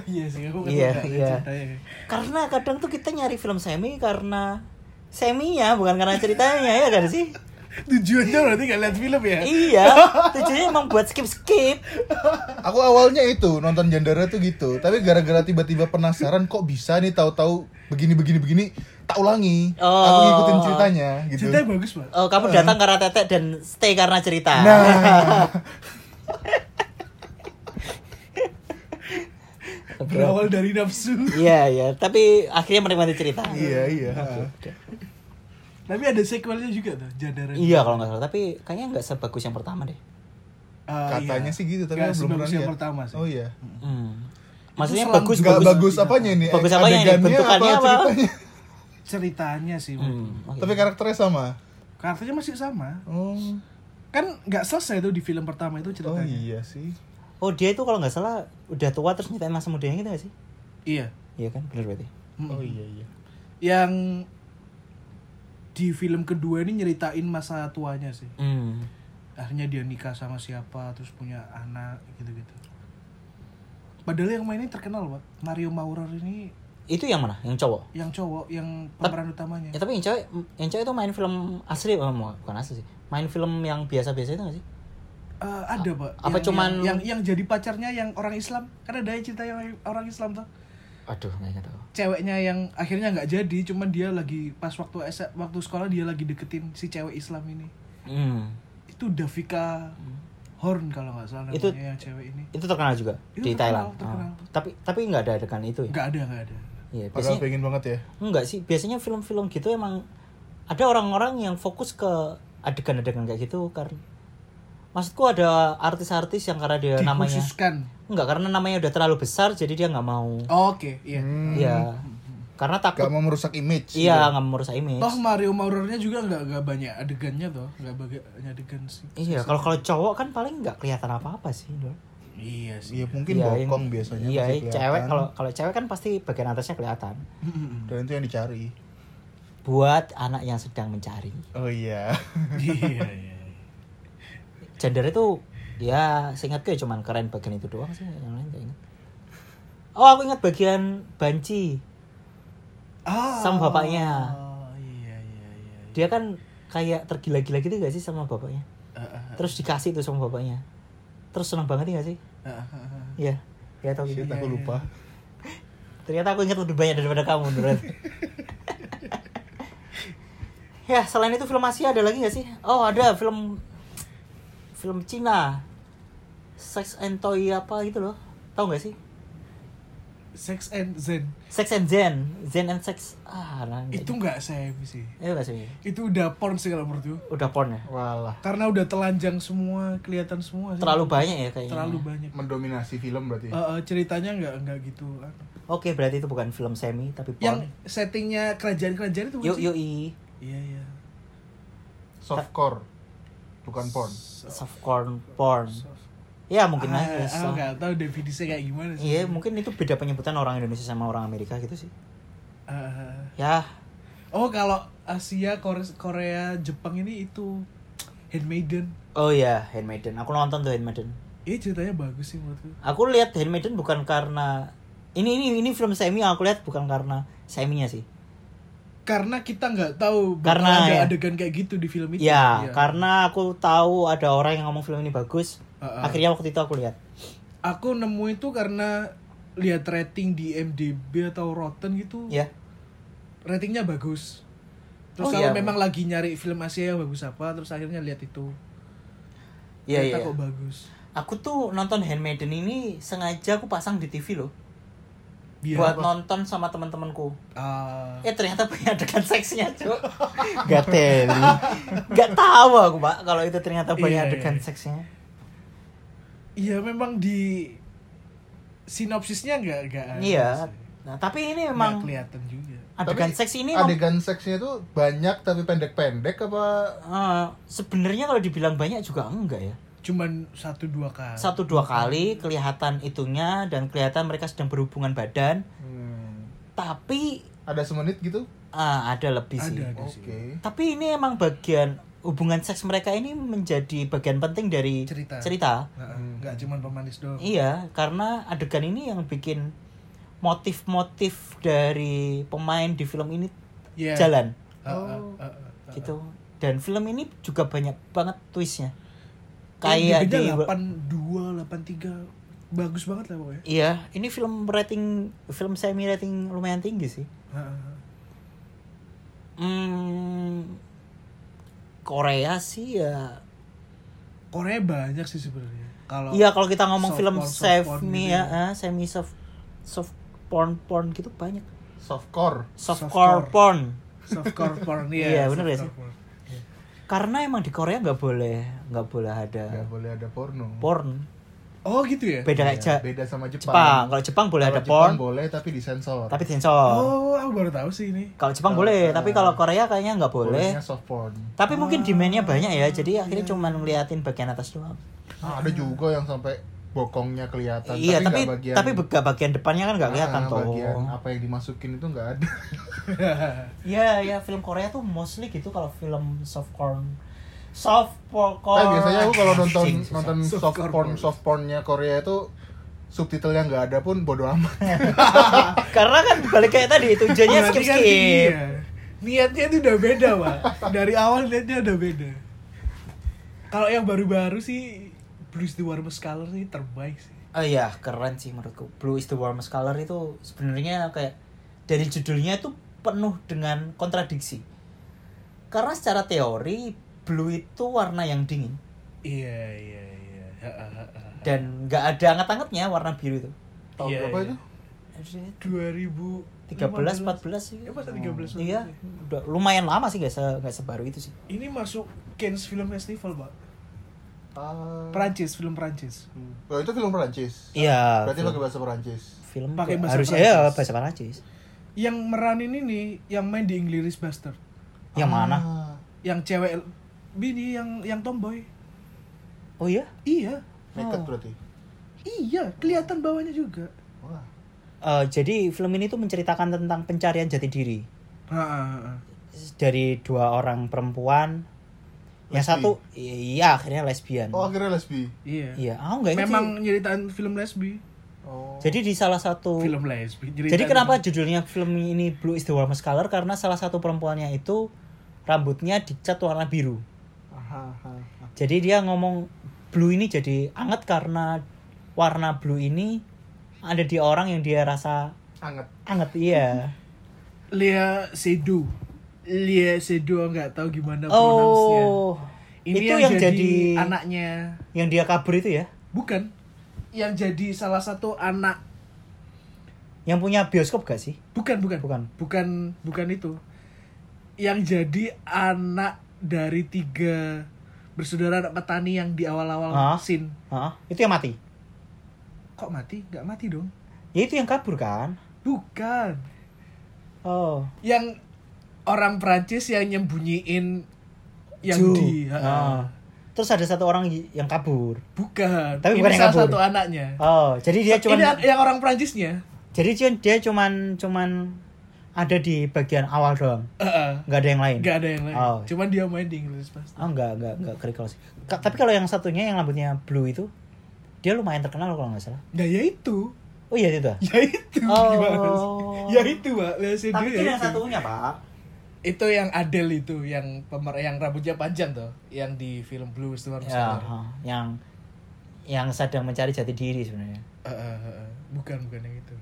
[SPEAKER 2] iya sih, aku kan
[SPEAKER 1] Iya,
[SPEAKER 2] lupa
[SPEAKER 1] iya.
[SPEAKER 2] ceritanya.
[SPEAKER 1] Karena kadang tuh kita nyari film semi karena seminya bukan karena ceritanya ya kan sih?
[SPEAKER 2] Tujuannya berarti gak lihat film ya?
[SPEAKER 1] iya, tujuannya emang buat skip-skip.
[SPEAKER 3] Aku awalnya itu nonton Jandara tuh gitu, tapi gara-gara tiba-tiba penasaran kok bisa nih tahu-tahu begini-begini begini tak ulangi. Aku
[SPEAKER 1] Oh.
[SPEAKER 3] ngikutin ceritanya gitu.
[SPEAKER 2] Ceritanya bagus, Pak.
[SPEAKER 1] Oh, kamu datang karena tetek dan stay karena cerita.
[SPEAKER 3] Eh.
[SPEAKER 2] Ah.
[SPEAKER 3] Nah,
[SPEAKER 2] Berawal dari nafsu.
[SPEAKER 1] Iya, iya, tapi akhirnya menikmati cerita.
[SPEAKER 3] iya iya.
[SPEAKER 2] Ah, Tapi ada sequelnya juga tuh, Jandara.
[SPEAKER 1] Iya kalau nggak salah, tapi kayaknya nggak sebagus yang pertama deh.
[SPEAKER 2] Ah, iya.
[SPEAKER 3] Katanya sih gitu, tapi
[SPEAKER 2] Nggak
[SPEAKER 3] aku belum pernah
[SPEAKER 2] sebagus yang
[SPEAKER 3] lihat.
[SPEAKER 2] pertama sih.
[SPEAKER 3] Oh iya.
[SPEAKER 1] Hmm. Maksudnya
[SPEAKER 2] selang-
[SPEAKER 1] bagus,
[SPEAKER 3] Nggak
[SPEAKER 1] bagus,
[SPEAKER 3] bagus apanya ini?
[SPEAKER 1] Bagus apanya ini?
[SPEAKER 3] Adegannya
[SPEAKER 1] Bentukannya apa?
[SPEAKER 3] ceritanya?
[SPEAKER 2] Ceritanya sih. Pak.
[SPEAKER 1] Hmm, oke.
[SPEAKER 3] Tapi kan- karakternya sama.
[SPEAKER 2] Karakternya masih sama.
[SPEAKER 3] Oh.
[SPEAKER 2] Kan nggak selesai tuh di film pertama itu
[SPEAKER 3] Oh
[SPEAKER 2] ceritanya.
[SPEAKER 3] iya sih.
[SPEAKER 1] Oh dia itu kalau nggak salah udah tua terus nyeritain masa mudanya gitu nggak sih?
[SPEAKER 2] Iya.
[SPEAKER 1] Iya kan, bener berarti.
[SPEAKER 2] Mm-mm.
[SPEAKER 3] Oh iya iya.
[SPEAKER 2] yang di film kedua ini nyeritain masa tuanya sih
[SPEAKER 1] Hmm.
[SPEAKER 2] akhirnya dia nikah sama siapa terus punya anak gitu-gitu padahal yang mainnya terkenal pak Mario Maurer ini
[SPEAKER 1] Itu yang mana? Yang cowok?
[SPEAKER 2] yang cowok yang
[SPEAKER 1] Tep-
[SPEAKER 2] pemeran utamanya
[SPEAKER 1] Ya tapi yang cewek, yang cewek itu main film asli, oh, mu- bukan asli sih. Main film yang biasa-biasa itu nggak sih?
[SPEAKER 2] Eh, ada pak
[SPEAKER 1] apa
[SPEAKER 2] yang,
[SPEAKER 1] cuman-
[SPEAKER 2] yang, yang yang jadi pacarnya yang orang Islam kan ada ya cerita yang orang Islam tuh
[SPEAKER 1] Aduh, nggak ingat aku.
[SPEAKER 2] ceweknya yang akhirnya nggak jadi cuman dia lagi pas waktu S- waktu sekolah dia lagi deketin si cewek Islam ini
[SPEAKER 1] Hmm.
[SPEAKER 2] itu Davika Horn kalau nggak salah
[SPEAKER 1] Itu-
[SPEAKER 2] namanya yang cewek ini
[SPEAKER 1] Itu terkenal juga
[SPEAKER 2] Itu
[SPEAKER 1] di
[SPEAKER 2] terkenal,
[SPEAKER 1] Thailand.
[SPEAKER 2] terkenal.
[SPEAKER 1] Ah. Tapi tapi nggak ada adegan itu ya.
[SPEAKER 2] nggak ada nggak ada
[SPEAKER 1] Iya,
[SPEAKER 3] Padahal
[SPEAKER 1] biasanya
[SPEAKER 3] pengen banget ya.
[SPEAKER 1] enggak sih. Biasanya film-film gitu emang ada orang-orang yang fokus ke adegan-adegan kayak gitu karena maksudku ada artis-artis yang karena dia namanya
[SPEAKER 2] dikhususkan
[SPEAKER 1] enggak karena namanya udah terlalu besar jadi dia nggak mau.
[SPEAKER 2] Oh, oke iya
[SPEAKER 1] Iya. Karena takut
[SPEAKER 3] Gak Hmm. mau ya. Oh. merusak image.
[SPEAKER 1] iya nggak mau merusak image.
[SPEAKER 2] toh Oh, Mario Maurernya juga nggak nggak banyak adegannya toh nggak banyak adegan sih
[SPEAKER 1] Iya, kalau kalau cowok kan paling nggak kelihatan apa-apa sih, Dor.
[SPEAKER 2] iya sih
[SPEAKER 3] Iya mungkin
[SPEAKER 1] Iya, yang-
[SPEAKER 3] bokong biasanya.
[SPEAKER 1] Iya,
[SPEAKER 3] pasti
[SPEAKER 1] yang
[SPEAKER 3] kelihatan.
[SPEAKER 1] cewek kalau kalau cewek kan pasti bagian atasnya kelihatan.
[SPEAKER 3] Dan itu yang dicari.
[SPEAKER 1] Buat anak yang sedang mencari.
[SPEAKER 3] Oh iya.
[SPEAKER 2] iya iya
[SPEAKER 1] Gender itu ya seingatku ya cuman keren bagian itu doang sih, yang lain nggak ingat. Oh, aku ingat bagian banci.
[SPEAKER 2] ah
[SPEAKER 1] Sama bapaknya.
[SPEAKER 2] iya iya iya
[SPEAKER 1] Dia kan kayak tergila-gila gitu gak sih sama bapaknya?
[SPEAKER 2] Ah, ah,
[SPEAKER 1] Terus dikasih itu sama bapaknya. Terus senang banget ya gak sih?
[SPEAKER 2] ah, ah, ah.
[SPEAKER 1] Iya. Ya tahu
[SPEAKER 3] Shit,
[SPEAKER 1] gitu.
[SPEAKER 3] aku lupa.
[SPEAKER 1] Ternyata aku ingat lebih banyak daripada kamu, Nurul. ya, selain itu film Asia ada lagi nggak sih? Oh, ada film film Cina. Sex and Toy apa gitu loh. Tahu nggak sih?
[SPEAKER 2] Sex and Zen
[SPEAKER 1] Sex and Zen, Zen and Sex. Ah, nah, nggak
[SPEAKER 2] itu nggak saya sih
[SPEAKER 1] gitu. itu nggak sih?
[SPEAKER 2] itu udah porn sih kalau menurutku
[SPEAKER 1] Udah porn ya?
[SPEAKER 3] Walah.
[SPEAKER 2] karena udah telanjang semua kelihatan semua sih.
[SPEAKER 1] Terlalu banyak ya kayaknya.
[SPEAKER 2] terlalu banyak
[SPEAKER 3] Mendominasi film berarti. ya?
[SPEAKER 2] Eh, eh, ceritanya nggak nggak gitu
[SPEAKER 1] Oke, berarti itu bukan film semi tapi
[SPEAKER 2] yang
[SPEAKER 1] porn.
[SPEAKER 2] settingnya kerajaan-kerajaan itu bukan
[SPEAKER 1] Yuk,
[SPEAKER 2] sih?
[SPEAKER 1] yuk, i.
[SPEAKER 2] iya iya
[SPEAKER 3] Softcore. Bukan porn.
[SPEAKER 1] Softcore porn. Ya mungkin
[SPEAKER 2] ah,
[SPEAKER 1] aja.
[SPEAKER 2] ah,
[SPEAKER 1] so-
[SPEAKER 2] nggak tahu definisinya kayak gimana sih
[SPEAKER 1] Iya, mungkin itu beda penyebutan orang Indonesia sama orang Amerika gitu sih.
[SPEAKER 2] Ah.
[SPEAKER 1] Ya,
[SPEAKER 2] oh kalau Asia Korea, Korea Jepang ini itu handmaiden
[SPEAKER 1] oh ya, Handmaiden. Aku nonton tuh Handmaiden.
[SPEAKER 2] Iya ceritanya bagus sih menurutku
[SPEAKER 1] Aku lihat Handmaiden bukan karena ini ini ini film semi yang aku lihat bukan karena seminya sih.
[SPEAKER 2] karena kita nggak tahu bakal
[SPEAKER 1] Karena,
[SPEAKER 2] ada
[SPEAKER 1] ya.
[SPEAKER 2] adegan kayak gitu di film itu
[SPEAKER 1] Ya,
[SPEAKER 2] Iya.
[SPEAKER 1] karena aku tahu ada orang yang ngomong film ini bagus.
[SPEAKER 2] Ah, ah.
[SPEAKER 1] Akhirnya waktu itu aku lihat.
[SPEAKER 2] aku nemu itu karena lihat rating di MDB atau Rotten gitu
[SPEAKER 1] Ya.
[SPEAKER 2] ratingnya bagus
[SPEAKER 1] Oh,
[SPEAKER 2] terus
[SPEAKER 1] iya.
[SPEAKER 2] kalau memang lagi nyari film Asia yang bagus apa terus akhirnya lihat itu
[SPEAKER 1] Iya,
[SPEAKER 2] Ternyata
[SPEAKER 1] iya.
[SPEAKER 2] kok bagus
[SPEAKER 1] Aku tuh nonton Handmaiden ini sengaja aku pasang di TV loh.
[SPEAKER 2] biar
[SPEAKER 1] buat
[SPEAKER 2] Iya, apa?
[SPEAKER 1] nonton sama teman-temanku.
[SPEAKER 2] Ah,
[SPEAKER 1] Eh ternyata punya adegan seksnya, Cuk. Gak teli. Gak tahu aku, Pak, kalau itu ternyata
[SPEAKER 2] Iya,
[SPEAKER 1] banyak
[SPEAKER 2] iya,
[SPEAKER 1] adegan
[SPEAKER 2] iya.
[SPEAKER 1] seksnya.
[SPEAKER 2] iya memang di sinopsisnya nggak nggak ada
[SPEAKER 1] Iya.
[SPEAKER 2] sih.
[SPEAKER 1] Nah, tapi ini
[SPEAKER 2] Nggak
[SPEAKER 1] memang
[SPEAKER 2] kelihatan juga
[SPEAKER 1] adegan
[SPEAKER 3] Tapi
[SPEAKER 1] seks ini mem-
[SPEAKER 3] Adegan seksnya tuh banyak tapi pendek-pendek apa?
[SPEAKER 1] eh, sebenarnya kalau dibilang banyak juga enggak ya.
[SPEAKER 2] cuman satu dua kali
[SPEAKER 1] Satu dua kali kelihatan itunya dan kelihatan mereka sedang berhubungan badan,
[SPEAKER 3] Hmm.
[SPEAKER 1] tapi
[SPEAKER 3] Ada semenit gitu?
[SPEAKER 1] eh, ada lebih sih.
[SPEAKER 2] ada ada
[SPEAKER 3] Oke.
[SPEAKER 2] sih
[SPEAKER 1] Tapi ini emang bagian hubungan seks mereka ini menjadi bagian penting dari
[SPEAKER 2] Cerita. Nah, nggak cuman pemanis doang
[SPEAKER 1] Iya, karena adegan ini yang bikin motif-motif dari pemain di film ini
[SPEAKER 2] Iya.
[SPEAKER 1] jalan
[SPEAKER 2] Ah, ah, ah, ah.
[SPEAKER 1] gitu. Dan film ini juga banyak banget twistnya.
[SPEAKER 2] Yang
[SPEAKER 1] Kayak
[SPEAKER 2] di
[SPEAKER 1] di
[SPEAKER 2] delapan dua delapan tiga bagus banget lah pokoknya
[SPEAKER 1] Iya, ini film rating film semi rating lumayan tinggi sih.
[SPEAKER 2] Ah, ah, ah.
[SPEAKER 1] Hmm, Korea sih ya.
[SPEAKER 2] Korea banyak sih sebenarnya kalau
[SPEAKER 1] Iya, kalau kita ngomong
[SPEAKER 2] soft
[SPEAKER 1] film
[SPEAKER 2] porn, soft porn
[SPEAKER 1] semi
[SPEAKER 2] gitu
[SPEAKER 1] ya, eh, semi soft soft porn porn gitu banyak.
[SPEAKER 3] Softcore.
[SPEAKER 1] Softcore
[SPEAKER 2] Softcore.
[SPEAKER 1] porn.
[SPEAKER 2] softcore porn ya
[SPEAKER 1] Iya, bener ya
[SPEAKER 2] softcore
[SPEAKER 1] sih?
[SPEAKER 2] porn. Iya.
[SPEAKER 1] karena emang di Korea nggak boleh nggak boleh ada
[SPEAKER 3] Gak boleh ada porno.
[SPEAKER 1] Ya. porn
[SPEAKER 2] oh gitu ya
[SPEAKER 1] beda kayak
[SPEAKER 3] Ya,
[SPEAKER 1] Ja-
[SPEAKER 3] beda sama Jepang.
[SPEAKER 1] Jepang kalau Jepang boleh
[SPEAKER 3] Kalau
[SPEAKER 1] ada
[SPEAKER 3] Jepang
[SPEAKER 1] porn
[SPEAKER 3] boleh tapi disensor.
[SPEAKER 1] tapi sensor
[SPEAKER 2] oh aku baru tahu sih ini
[SPEAKER 1] kalau Jepang
[SPEAKER 3] Kalau-
[SPEAKER 1] boleh tapi kalau
[SPEAKER 3] eh,
[SPEAKER 1] Korea kayaknya nggak boleh
[SPEAKER 3] Bolehnya Ah. Iya. soft porn.
[SPEAKER 1] tapi mungkin demandnya banyak ya jadi akhirnya cuma ngeliatin bagian atas doang
[SPEAKER 3] Ah, ada juga yang sampai bokongnya kelihatan
[SPEAKER 1] iya tapi
[SPEAKER 3] nggak bagian
[SPEAKER 1] tapi bega- bagian depannya kan nggak kelihatan
[SPEAKER 3] Ah,
[SPEAKER 1] toh
[SPEAKER 3] bagian apa yang dimasukin itu nggak ada
[SPEAKER 1] Iya ya film Korea tuh mostly gitu kalau film soft porn soft porn
[SPEAKER 3] Tapi Nah, biasanya aku kalau nonton
[SPEAKER 1] Oh, Anjing, susah.
[SPEAKER 3] nonton
[SPEAKER 2] Soft
[SPEAKER 3] soft
[SPEAKER 2] porn.
[SPEAKER 3] porn soft pornnya Korea itu subtitlenya nggak ada pun bodo amat
[SPEAKER 1] karena kan balik kayak tadi tujuannya
[SPEAKER 2] Berarti
[SPEAKER 1] skip
[SPEAKER 2] kan
[SPEAKER 1] skip
[SPEAKER 2] iya. Niatnya itu udah beda, Pak. Dari awal niatnya udah beda. Kalau yang baru-baru sih Bruce the Warmest Color sih terbaik sih.
[SPEAKER 1] Oh iya, keren sih menurutku. Blue is the warmest color itu sebenarnya kayak dari judulnya itu penuh dengan kontradiksi. Karena secara teori blue itu warna yang dingin,
[SPEAKER 2] Iya, iya, iya.
[SPEAKER 1] dan nggak ada anget-angetnya warna biru itu
[SPEAKER 3] Tahun
[SPEAKER 2] Iya,
[SPEAKER 3] berapa
[SPEAKER 2] iya.
[SPEAKER 3] itu?
[SPEAKER 2] 2013
[SPEAKER 1] 13 14 sih
[SPEAKER 2] Ya, masa 13
[SPEAKER 1] iya udah lumayan lama sih nggak se nggak sebaru itu sih
[SPEAKER 2] Ini masuk Cannes Film Festival, Pak.
[SPEAKER 3] Ah.
[SPEAKER 2] Perancis, film Perancis.
[SPEAKER 3] Oh, itu film Perancis.
[SPEAKER 1] iya
[SPEAKER 3] Berarti
[SPEAKER 1] film,
[SPEAKER 3] pakai bahasa Perancis.
[SPEAKER 1] film
[SPEAKER 2] Pakai
[SPEAKER 1] tuh
[SPEAKER 2] bahasa
[SPEAKER 1] harusnya ya
[SPEAKER 2] Perancis.
[SPEAKER 1] bahasa Perancis
[SPEAKER 2] Yang meranin ini yang main di Inglourious Bastard.
[SPEAKER 1] yang mana
[SPEAKER 3] Ah.
[SPEAKER 2] Yang cewek bini yang yang tomboy.
[SPEAKER 1] oh iya
[SPEAKER 2] Iya.
[SPEAKER 3] Naked
[SPEAKER 1] Oh.
[SPEAKER 3] berarti.
[SPEAKER 2] Iya, kelihatan bawahnya juga.
[SPEAKER 3] Wah.
[SPEAKER 1] Eh, jadi film ini tuh menceritakan tentang pencarian jati diri
[SPEAKER 2] Heeh.
[SPEAKER 1] dari dua orang perempuan yang
[SPEAKER 3] Lesbi.
[SPEAKER 1] satu iya akhirnya lesbian
[SPEAKER 3] Oh, akhirnya lesbi.
[SPEAKER 2] Iya.
[SPEAKER 1] iya aku nggak ingat sih.
[SPEAKER 2] Memang nyeritaan film lesbi.
[SPEAKER 3] Oh.
[SPEAKER 1] jadi di salah satu
[SPEAKER 2] Film lesbi.
[SPEAKER 1] Jadi kenapa judulnya film ini Blue is the warmest color karena salah satu perempuannya itu rambutnya dicat warna biru.
[SPEAKER 3] Aha, aha, aha.
[SPEAKER 1] Jadi dia ngomong blue ini jadi anget karena warna blue ini ada di orang yang dia rasa
[SPEAKER 3] Anget.
[SPEAKER 1] anget iya.
[SPEAKER 2] Lia Sedu? Lia Sedu nggak tahu gimana pronounce-nya.
[SPEAKER 1] oh.
[SPEAKER 2] Ini
[SPEAKER 1] itu
[SPEAKER 2] yang,
[SPEAKER 1] yang,
[SPEAKER 2] jadi,
[SPEAKER 1] jadi,
[SPEAKER 2] anaknya.
[SPEAKER 1] yang dia kabur itu ya.
[SPEAKER 2] Bukan. Yang jadi salah satu anak
[SPEAKER 1] Yang punya bioskop gak sih?
[SPEAKER 2] bukan bukan
[SPEAKER 1] Bukan.
[SPEAKER 2] bukan bukan itu. Yang jadi anak dari tiga bersaudara anak petani yang di
[SPEAKER 1] Hah?
[SPEAKER 2] awal-awal scene.
[SPEAKER 1] Hah? Itu yang mati.
[SPEAKER 2] Kok mati? Nggak mati dong.
[SPEAKER 1] Ya itu yang kabur kan?
[SPEAKER 2] Bukan.
[SPEAKER 1] Oh.
[SPEAKER 2] yang orang Prancis yang nyembunyiin yang
[SPEAKER 1] Ju.
[SPEAKER 2] di
[SPEAKER 1] Ah. Terus ada satu orang y- yang kabur.
[SPEAKER 2] bukan
[SPEAKER 1] Tapi
[SPEAKER 2] ini
[SPEAKER 1] bukan yang
[SPEAKER 2] salah
[SPEAKER 1] kabur.
[SPEAKER 2] satu anaknya
[SPEAKER 1] Oh, jadi dia cuma
[SPEAKER 2] ini an- yang orang Prancisnya
[SPEAKER 1] Jadi cuman dia cuman cuman ada di bagian awal doang,
[SPEAKER 2] Heeh.
[SPEAKER 1] nggak ada yang lain.
[SPEAKER 2] nggak ada yang lain
[SPEAKER 1] Oh.
[SPEAKER 2] cuman dia main di Inggris pasti
[SPEAKER 1] Oh nggak nggak nggak kerikil sih. Ka- tapi kalau yang satunya yang rambutnya blue itu, dia lumayan terkenal kalau nggak salah.
[SPEAKER 2] nah ya itu
[SPEAKER 1] Oh iya itu. ah?
[SPEAKER 2] ya itu
[SPEAKER 1] Oh.
[SPEAKER 2] gimana sih? ya itu pak lihat sendiri ya itu.
[SPEAKER 5] pak.
[SPEAKER 2] itu yang Adele itu yang pemer yang rambutnya panjang tuh yang di film Blue is the Warmest
[SPEAKER 1] Ya,
[SPEAKER 2] Color.
[SPEAKER 1] ha, yang yang sedang mencari jati diri sebenarnya.
[SPEAKER 2] Heeh, heeh. bukan bukan yang itu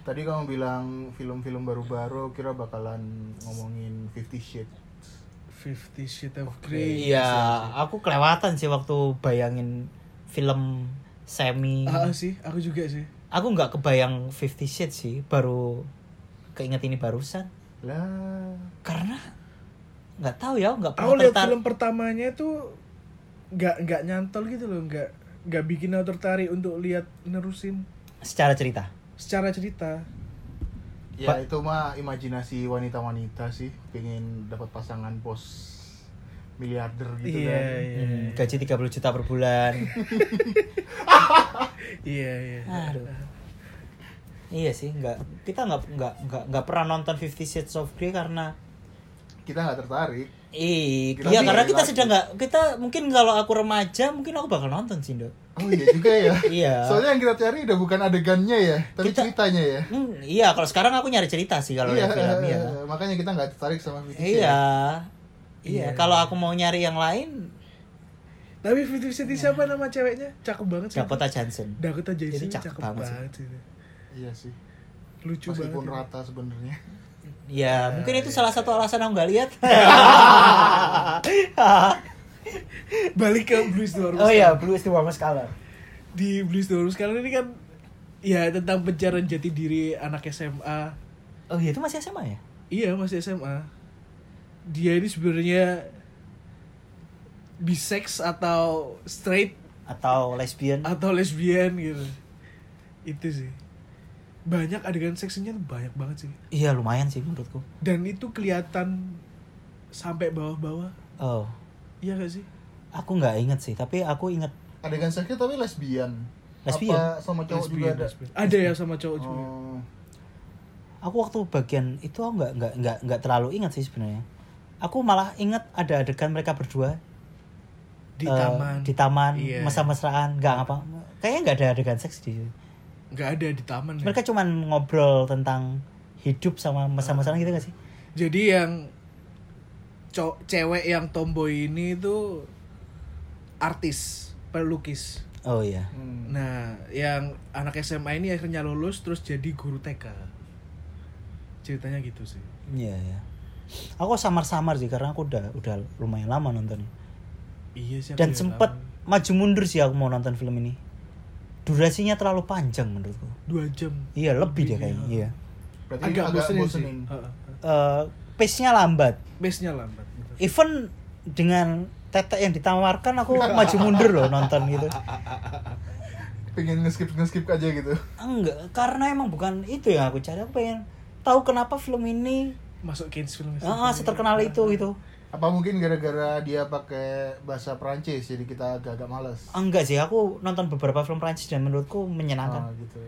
[SPEAKER 3] Tadi kamu bilang film-film baru-baru kira bakalan ngomongin Fifty Shades.
[SPEAKER 2] Fifty Shades of Grey
[SPEAKER 1] Iya, aku kelewatan sih waktu bayangin film semi.
[SPEAKER 2] Ah, ah, sih aku juga sih
[SPEAKER 1] Aku nggak kebayang Fifty Shades sih, baru keinget ini barusan.
[SPEAKER 3] Lah,
[SPEAKER 1] karena nggak tahu ya nggak
[SPEAKER 2] aku
[SPEAKER 1] pernah
[SPEAKER 2] lihat
[SPEAKER 1] tertarik
[SPEAKER 2] film pertamanya tuh nggak nggak nyantol gitu loh nggak nggak bikin aku tertarik untuk lihat nerusin
[SPEAKER 1] secara cerita
[SPEAKER 2] secara cerita
[SPEAKER 3] ya
[SPEAKER 1] Ba-
[SPEAKER 3] itu mah imajinasi wanita-wanita sih, pengen dapat pasangan bos miliarder gitu
[SPEAKER 2] iya
[SPEAKER 3] kan.
[SPEAKER 2] iya
[SPEAKER 1] Hmm, gaji 30 juta per bulan
[SPEAKER 2] iya iya
[SPEAKER 1] aduh iya sih nggak kita nggak nggak nggak nggak pernah nonton Fifty Shades of Grey karena
[SPEAKER 3] Kita nggak tertarik.
[SPEAKER 1] Ih,
[SPEAKER 3] Kita
[SPEAKER 1] iya
[SPEAKER 3] sih
[SPEAKER 1] karena kita
[SPEAKER 3] laki.
[SPEAKER 1] sedang nggak kita mungkin kalau aku remaja mungkin aku bakal nonton sih dok
[SPEAKER 3] Oh iya juga ya.
[SPEAKER 1] Iya.
[SPEAKER 3] Soalnya yang kita cari udah bukan adegannya ya, tapi
[SPEAKER 1] Kita-
[SPEAKER 3] ceritanya ya. Iya,
[SPEAKER 1] Hmm, iya kalau sekarang aku nyari cerita sih kalau lihat film ya
[SPEAKER 3] makanya kita nggak tertarik sama Fifty Shades.
[SPEAKER 1] iya iya kalau aku mau nyari yang lain
[SPEAKER 2] tapi Fifty City siapa nama ceweknya cakep banget sih
[SPEAKER 1] Dakota Johnson
[SPEAKER 2] Dakota Johnson
[SPEAKER 1] Itu
[SPEAKER 2] cakep,
[SPEAKER 1] cakep banget
[SPEAKER 2] banget,
[SPEAKER 1] sih.
[SPEAKER 2] sih.
[SPEAKER 3] Iya sih.
[SPEAKER 2] lucu
[SPEAKER 3] Meskipun
[SPEAKER 2] banget
[SPEAKER 3] rata sebenarnya.
[SPEAKER 1] Ya, mungkin itu salah satu alasan aku nggak lihat.
[SPEAKER 2] balik ke Blues Dwarves
[SPEAKER 1] oh ya, Blue is the warmest color.
[SPEAKER 2] di Blues Dwarves sekarang ini kan ya tentang pencarian jati diri anak SMA
[SPEAKER 1] Oh iya, itu masih SMA ya?
[SPEAKER 2] Iya masih SMA. Dia ini sebenarnya bisex atau straight
[SPEAKER 1] Atau lesbian?
[SPEAKER 2] atau lesbian gitu. Itu sih. Banyak adegan seksnya tuh banyak banget sih.
[SPEAKER 1] Iya, lumayan sih menurutku.
[SPEAKER 2] Dan itu kelihatan sampai bawah-bawah.
[SPEAKER 1] Oh,
[SPEAKER 2] Iya gak sih?
[SPEAKER 1] aku nggak inget sih, tapi aku inget
[SPEAKER 3] Adegan seksnya tapi lesbian.
[SPEAKER 1] Lesbian?
[SPEAKER 3] Apa sama cowok
[SPEAKER 2] Lesbian,
[SPEAKER 3] juga ada?
[SPEAKER 2] lesbian. Ada ya sama cowok juga.
[SPEAKER 3] Oh.
[SPEAKER 1] aku waktu bagian itu aku nggak nggak nggak nggak terlalu ingat sih sebenarnya. Aku malah inget ada adegan mereka berdua
[SPEAKER 2] Di
[SPEAKER 1] eh,
[SPEAKER 2] taman.
[SPEAKER 1] di taman
[SPEAKER 2] Iya.
[SPEAKER 1] mesra-mesraan, nggak apa. Kayaknya nggak ada adegan seks di situ.
[SPEAKER 2] Nggak ada di taman. ya.
[SPEAKER 1] Mereka cuman ngobrol tentang hidup sama mesra-mesraan gitu gak sih?
[SPEAKER 2] Jadi yang co- cewek yang tomboy ini itu artis, pelukis.
[SPEAKER 1] Oh iya.
[SPEAKER 3] Hmm.
[SPEAKER 2] Nah, yang anak SMA ini akhirnya lulus terus jadi guru TK. Ceritanya gitu sih.
[SPEAKER 1] Iya ya. Aku samar-samar sih karena aku udah udah lumayan lama nontonnya.
[SPEAKER 2] Iya sih. aku
[SPEAKER 1] Dan
[SPEAKER 2] juga
[SPEAKER 1] sempet
[SPEAKER 2] tahu.
[SPEAKER 1] maju mundur sih aku mau nonton film ini durasinya terlalu panjang menurutku
[SPEAKER 2] dua jam
[SPEAKER 1] iya lebih deh kayaknya iya
[SPEAKER 3] Berarti
[SPEAKER 2] agak, bosenin sih
[SPEAKER 3] bosenin.
[SPEAKER 1] Eh, pace-nya lambat
[SPEAKER 2] base nya lambat betul.
[SPEAKER 1] even dengan tetek yang ditawarkan aku maju mundur loh nonton gitu
[SPEAKER 3] Pengen nge-skip nge-skip aja gitu.
[SPEAKER 1] enggak karena emang bukan itu yang aku cari aku pengen tahu kenapa film ini
[SPEAKER 2] masuk kids film
[SPEAKER 1] ah, seterkenal itu gitu
[SPEAKER 3] Apa mungkin gara-gara dia pakai bahasa Prancis jadi kita agak-agak males.
[SPEAKER 1] Ah, enggak sih aku nonton beberapa film Prancis dan menurutku
[SPEAKER 3] Ah,
[SPEAKER 2] Oh.
[SPEAKER 1] menyenangkan
[SPEAKER 3] gitu.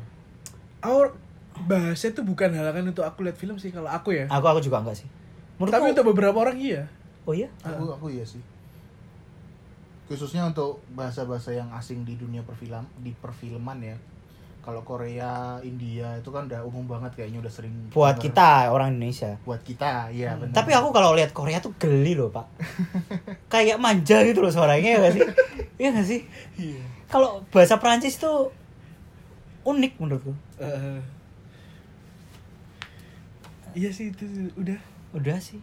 [SPEAKER 2] Our bahasa itu bukan halangan untuk aku lihat film sih kalau aku ya
[SPEAKER 1] aku aku juga enggak sih
[SPEAKER 2] tapi
[SPEAKER 1] menurutku
[SPEAKER 2] untuk beberapa orang iya
[SPEAKER 1] oh iya
[SPEAKER 3] Aku aku iya sih. Khususnya untuk bahasa-bahasa yang asing di dunia perfilm di perfilman ya. Kalau Korea, India itu kan udah umum banget kayaknya udah sering
[SPEAKER 1] buat
[SPEAKER 3] denger.
[SPEAKER 1] kita orang Indonesia
[SPEAKER 3] buat kita iya benar
[SPEAKER 1] Tapi aku kalau lihat Korea tuh geli loh pak Kayak manja gitu loh suaranya ya gak sih? Iya gak sih? Kalau bahasa Prancis tuh unik menurutku
[SPEAKER 2] Eh, iya sih itu udah
[SPEAKER 1] Udah sih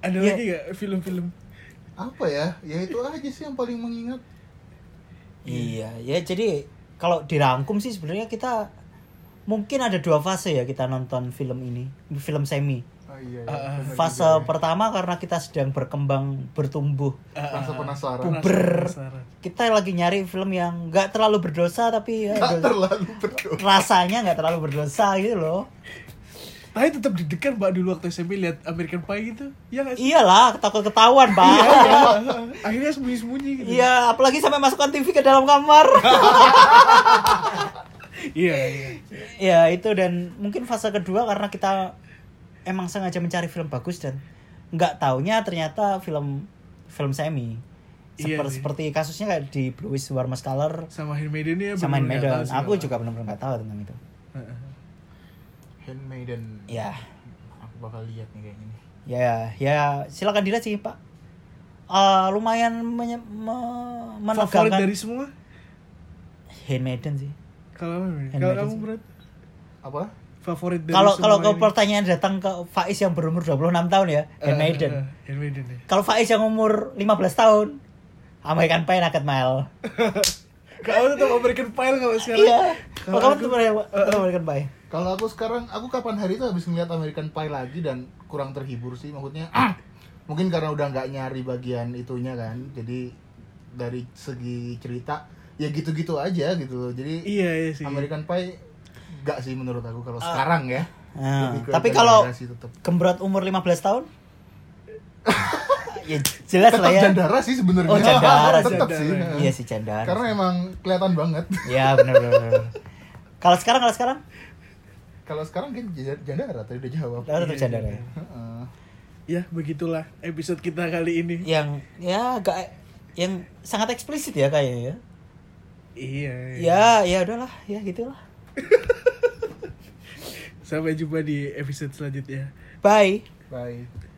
[SPEAKER 2] ada
[SPEAKER 1] Iya.
[SPEAKER 2] lagi gak film-film
[SPEAKER 3] apa ya ya itu aja sih yang paling mengingat
[SPEAKER 1] Iya ya jadi kalau dirangkum sih sebenarnya kita Mungkin ada dua fase ya kita nonton film ini Film semi
[SPEAKER 3] oh, iya, iya.
[SPEAKER 2] Ah, ah.
[SPEAKER 3] Benar
[SPEAKER 1] Fase
[SPEAKER 3] juga ya.
[SPEAKER 1] pertama karena kita sedang berkembang, bertumbuh
[SPEAKER 2] Ah,
[SPEAKER 3] Rasa penasaran.
[SPEAKER 2] Puber
[SPEAKER 1] Puber. Kita lagi nyari film yang gak terlalu berdosa tapi ya, dos-
[SPEAKER 3] Tak terlalu berdoa
[SPEAKER 1] rasanya gak terlalu berdosa gitu loh
[SPEAKER 2] Tapi tetap deg-degan mbak dulu waktu SMP lihat American Pie gitu Iya gak sih? Iya,
[SPEAKER 1] Iyalah, takut ketahuan, Pak.
[SPEAKER 2] Akhirnya sembunyi-sembunyi gitu
[SPEAKER 1] Iya, apalagi sampai masukkan TV ke dalam kamar.
[SPEAKER 2] Iya iya
[SPEAKER 1] ya, itu dan mungkin fase kedua karena kita emang sengaja mencari film bagus dan nggak taunya ternyata film film semi.
[SPEAKER 2] Iya
[SPEAKER 1] Seper-
[SPEAKER 2] sih.
[SPEAKER 1] seperti kasusnya kayak di Blue Is War Color
[SPEAKER 2] Sama Handmaiden ya
[SPEAKER 1] sama In
[SPEAKER 2] bener-bener
[SPEAKER 1] Maiden.
[SPEAKER 2] nggak tahu sih
[SPEAKER 1] Aku
[SPEAKER 2] kalau-
[SPEAKER 1] juga benar-benar nggak tahu tentang itu.
[SPEAKER 2] Heeh.
[SPEAKER 3] handmaiden
[SPEAKER 1] Ya,
[SPEAKER 3] aku bakal lihat nih kayaknya nih
[SPEAKER 1] ya, ya, silakan dilihat sih, Pak. Eh, lumayan menye- me-
[SPEAKER 2] Favorit
[SPEAKER 1] menegangkan
[SPEAKER 2] dari semua?
[SPEAKER 1] Handmaiden sih.
[SPEAKER 2] Kalau
[SPEAKER 1] Handmaiden
[SPEAKER 2] kalau kamu
[SPEAKER 1] sih.
[SPEAKER 2] berat
[SPEAKER 3] apa
[SPEAKER 2] favorit dari
[SPEAKER 1] Kalau
[SPEAKER 2] semua
[SPEAKER 1] kalau ke
[SPEAKER 2] ini?
[SPEAKER 1] pertanyaan datang ke Faiz yang berumur 26 tahun ya,
[SPEAKER 2] Eh,
[SPEAKER 1] Handmaiden.
[SPEAKER 2] eh, eh, Handmaiden ya.
[SPEAKER 1] Kalau Faiz yang umur 15 tahun, kan American Pie Naked Mile.
[SPEAKER 2] Kamu tetap American Pie kalau sekarang.
[SPEAKER 1] iya. Kalau kamu
[SPEAKER 2] Kalau
[SPEAKER 1] kan
[SPEAKER 2] aku-
[SPEAKER 1] tuh pernah- pernah American Pie.
[SPEAKER 3] kalau aku sekarang aku kapan hari itu habis ngeliat American Pie lagi dan kurang terhibur sih maksudnya
[SPEAKER 2] Ah!
[SPEAKER 3] mungkin karena udah nggak nyari bagian itunya kan jadi dari segi cerita ya gitu-gitu aja gitu loh jadi
[SPEAKER 2] Iya iya sih. Ah.
[SPEAKER 3] American Pie nggak sih menurut aku kalau sekarang ya
[SPEAKER 1] Nah,
[SPEAKER 3] Lebih ke
[SPEAKER 1] tapi
[SPEAKER 3] gara-gara
[SPEAKER 1] kalau
[SPEAKER 3] sih tetep.
[SPEAKER 1] Gembrot umur 15 tahun? ya jelas lah ya.
[SPEAKER 3] tetap jandara sih sebenarnya
[SPEAKER 1] Oh, jandara,
[SPEAKER 3] tetap
[SPEAKER 2] jandara.
[SPEAKER 3] sih
[SPEAKER 1] Iya sih candaan.
[SPEAKER 3] karena emang kelihatan banget
[SPEAKER 1] Iya benar benar, benar. Kalau sekarang kalau sekarang?
[SPEAKER 3] kalau sekarang kan j- jandara tadi udah jawab Iya.
[SPEAKER 1] Nah, tetap candaan ya.
[SPEAKER 3] Heeh.
[SPEAKER 2] Ya begitulah episode kita kali ini.
[SPEAKER 1] Yang ya agak yang sangat eksplisit ya kayaknya ya.
[SPEAKER 2] Iya. iya.
[SPEAKER 1] Ya, ya udahlah, ya gitulah.
[SPEAKER 2] Sampai jumpa di episode selanjutnya.
[SPEAKER 1] Bye.
[SPEAKER 3] bye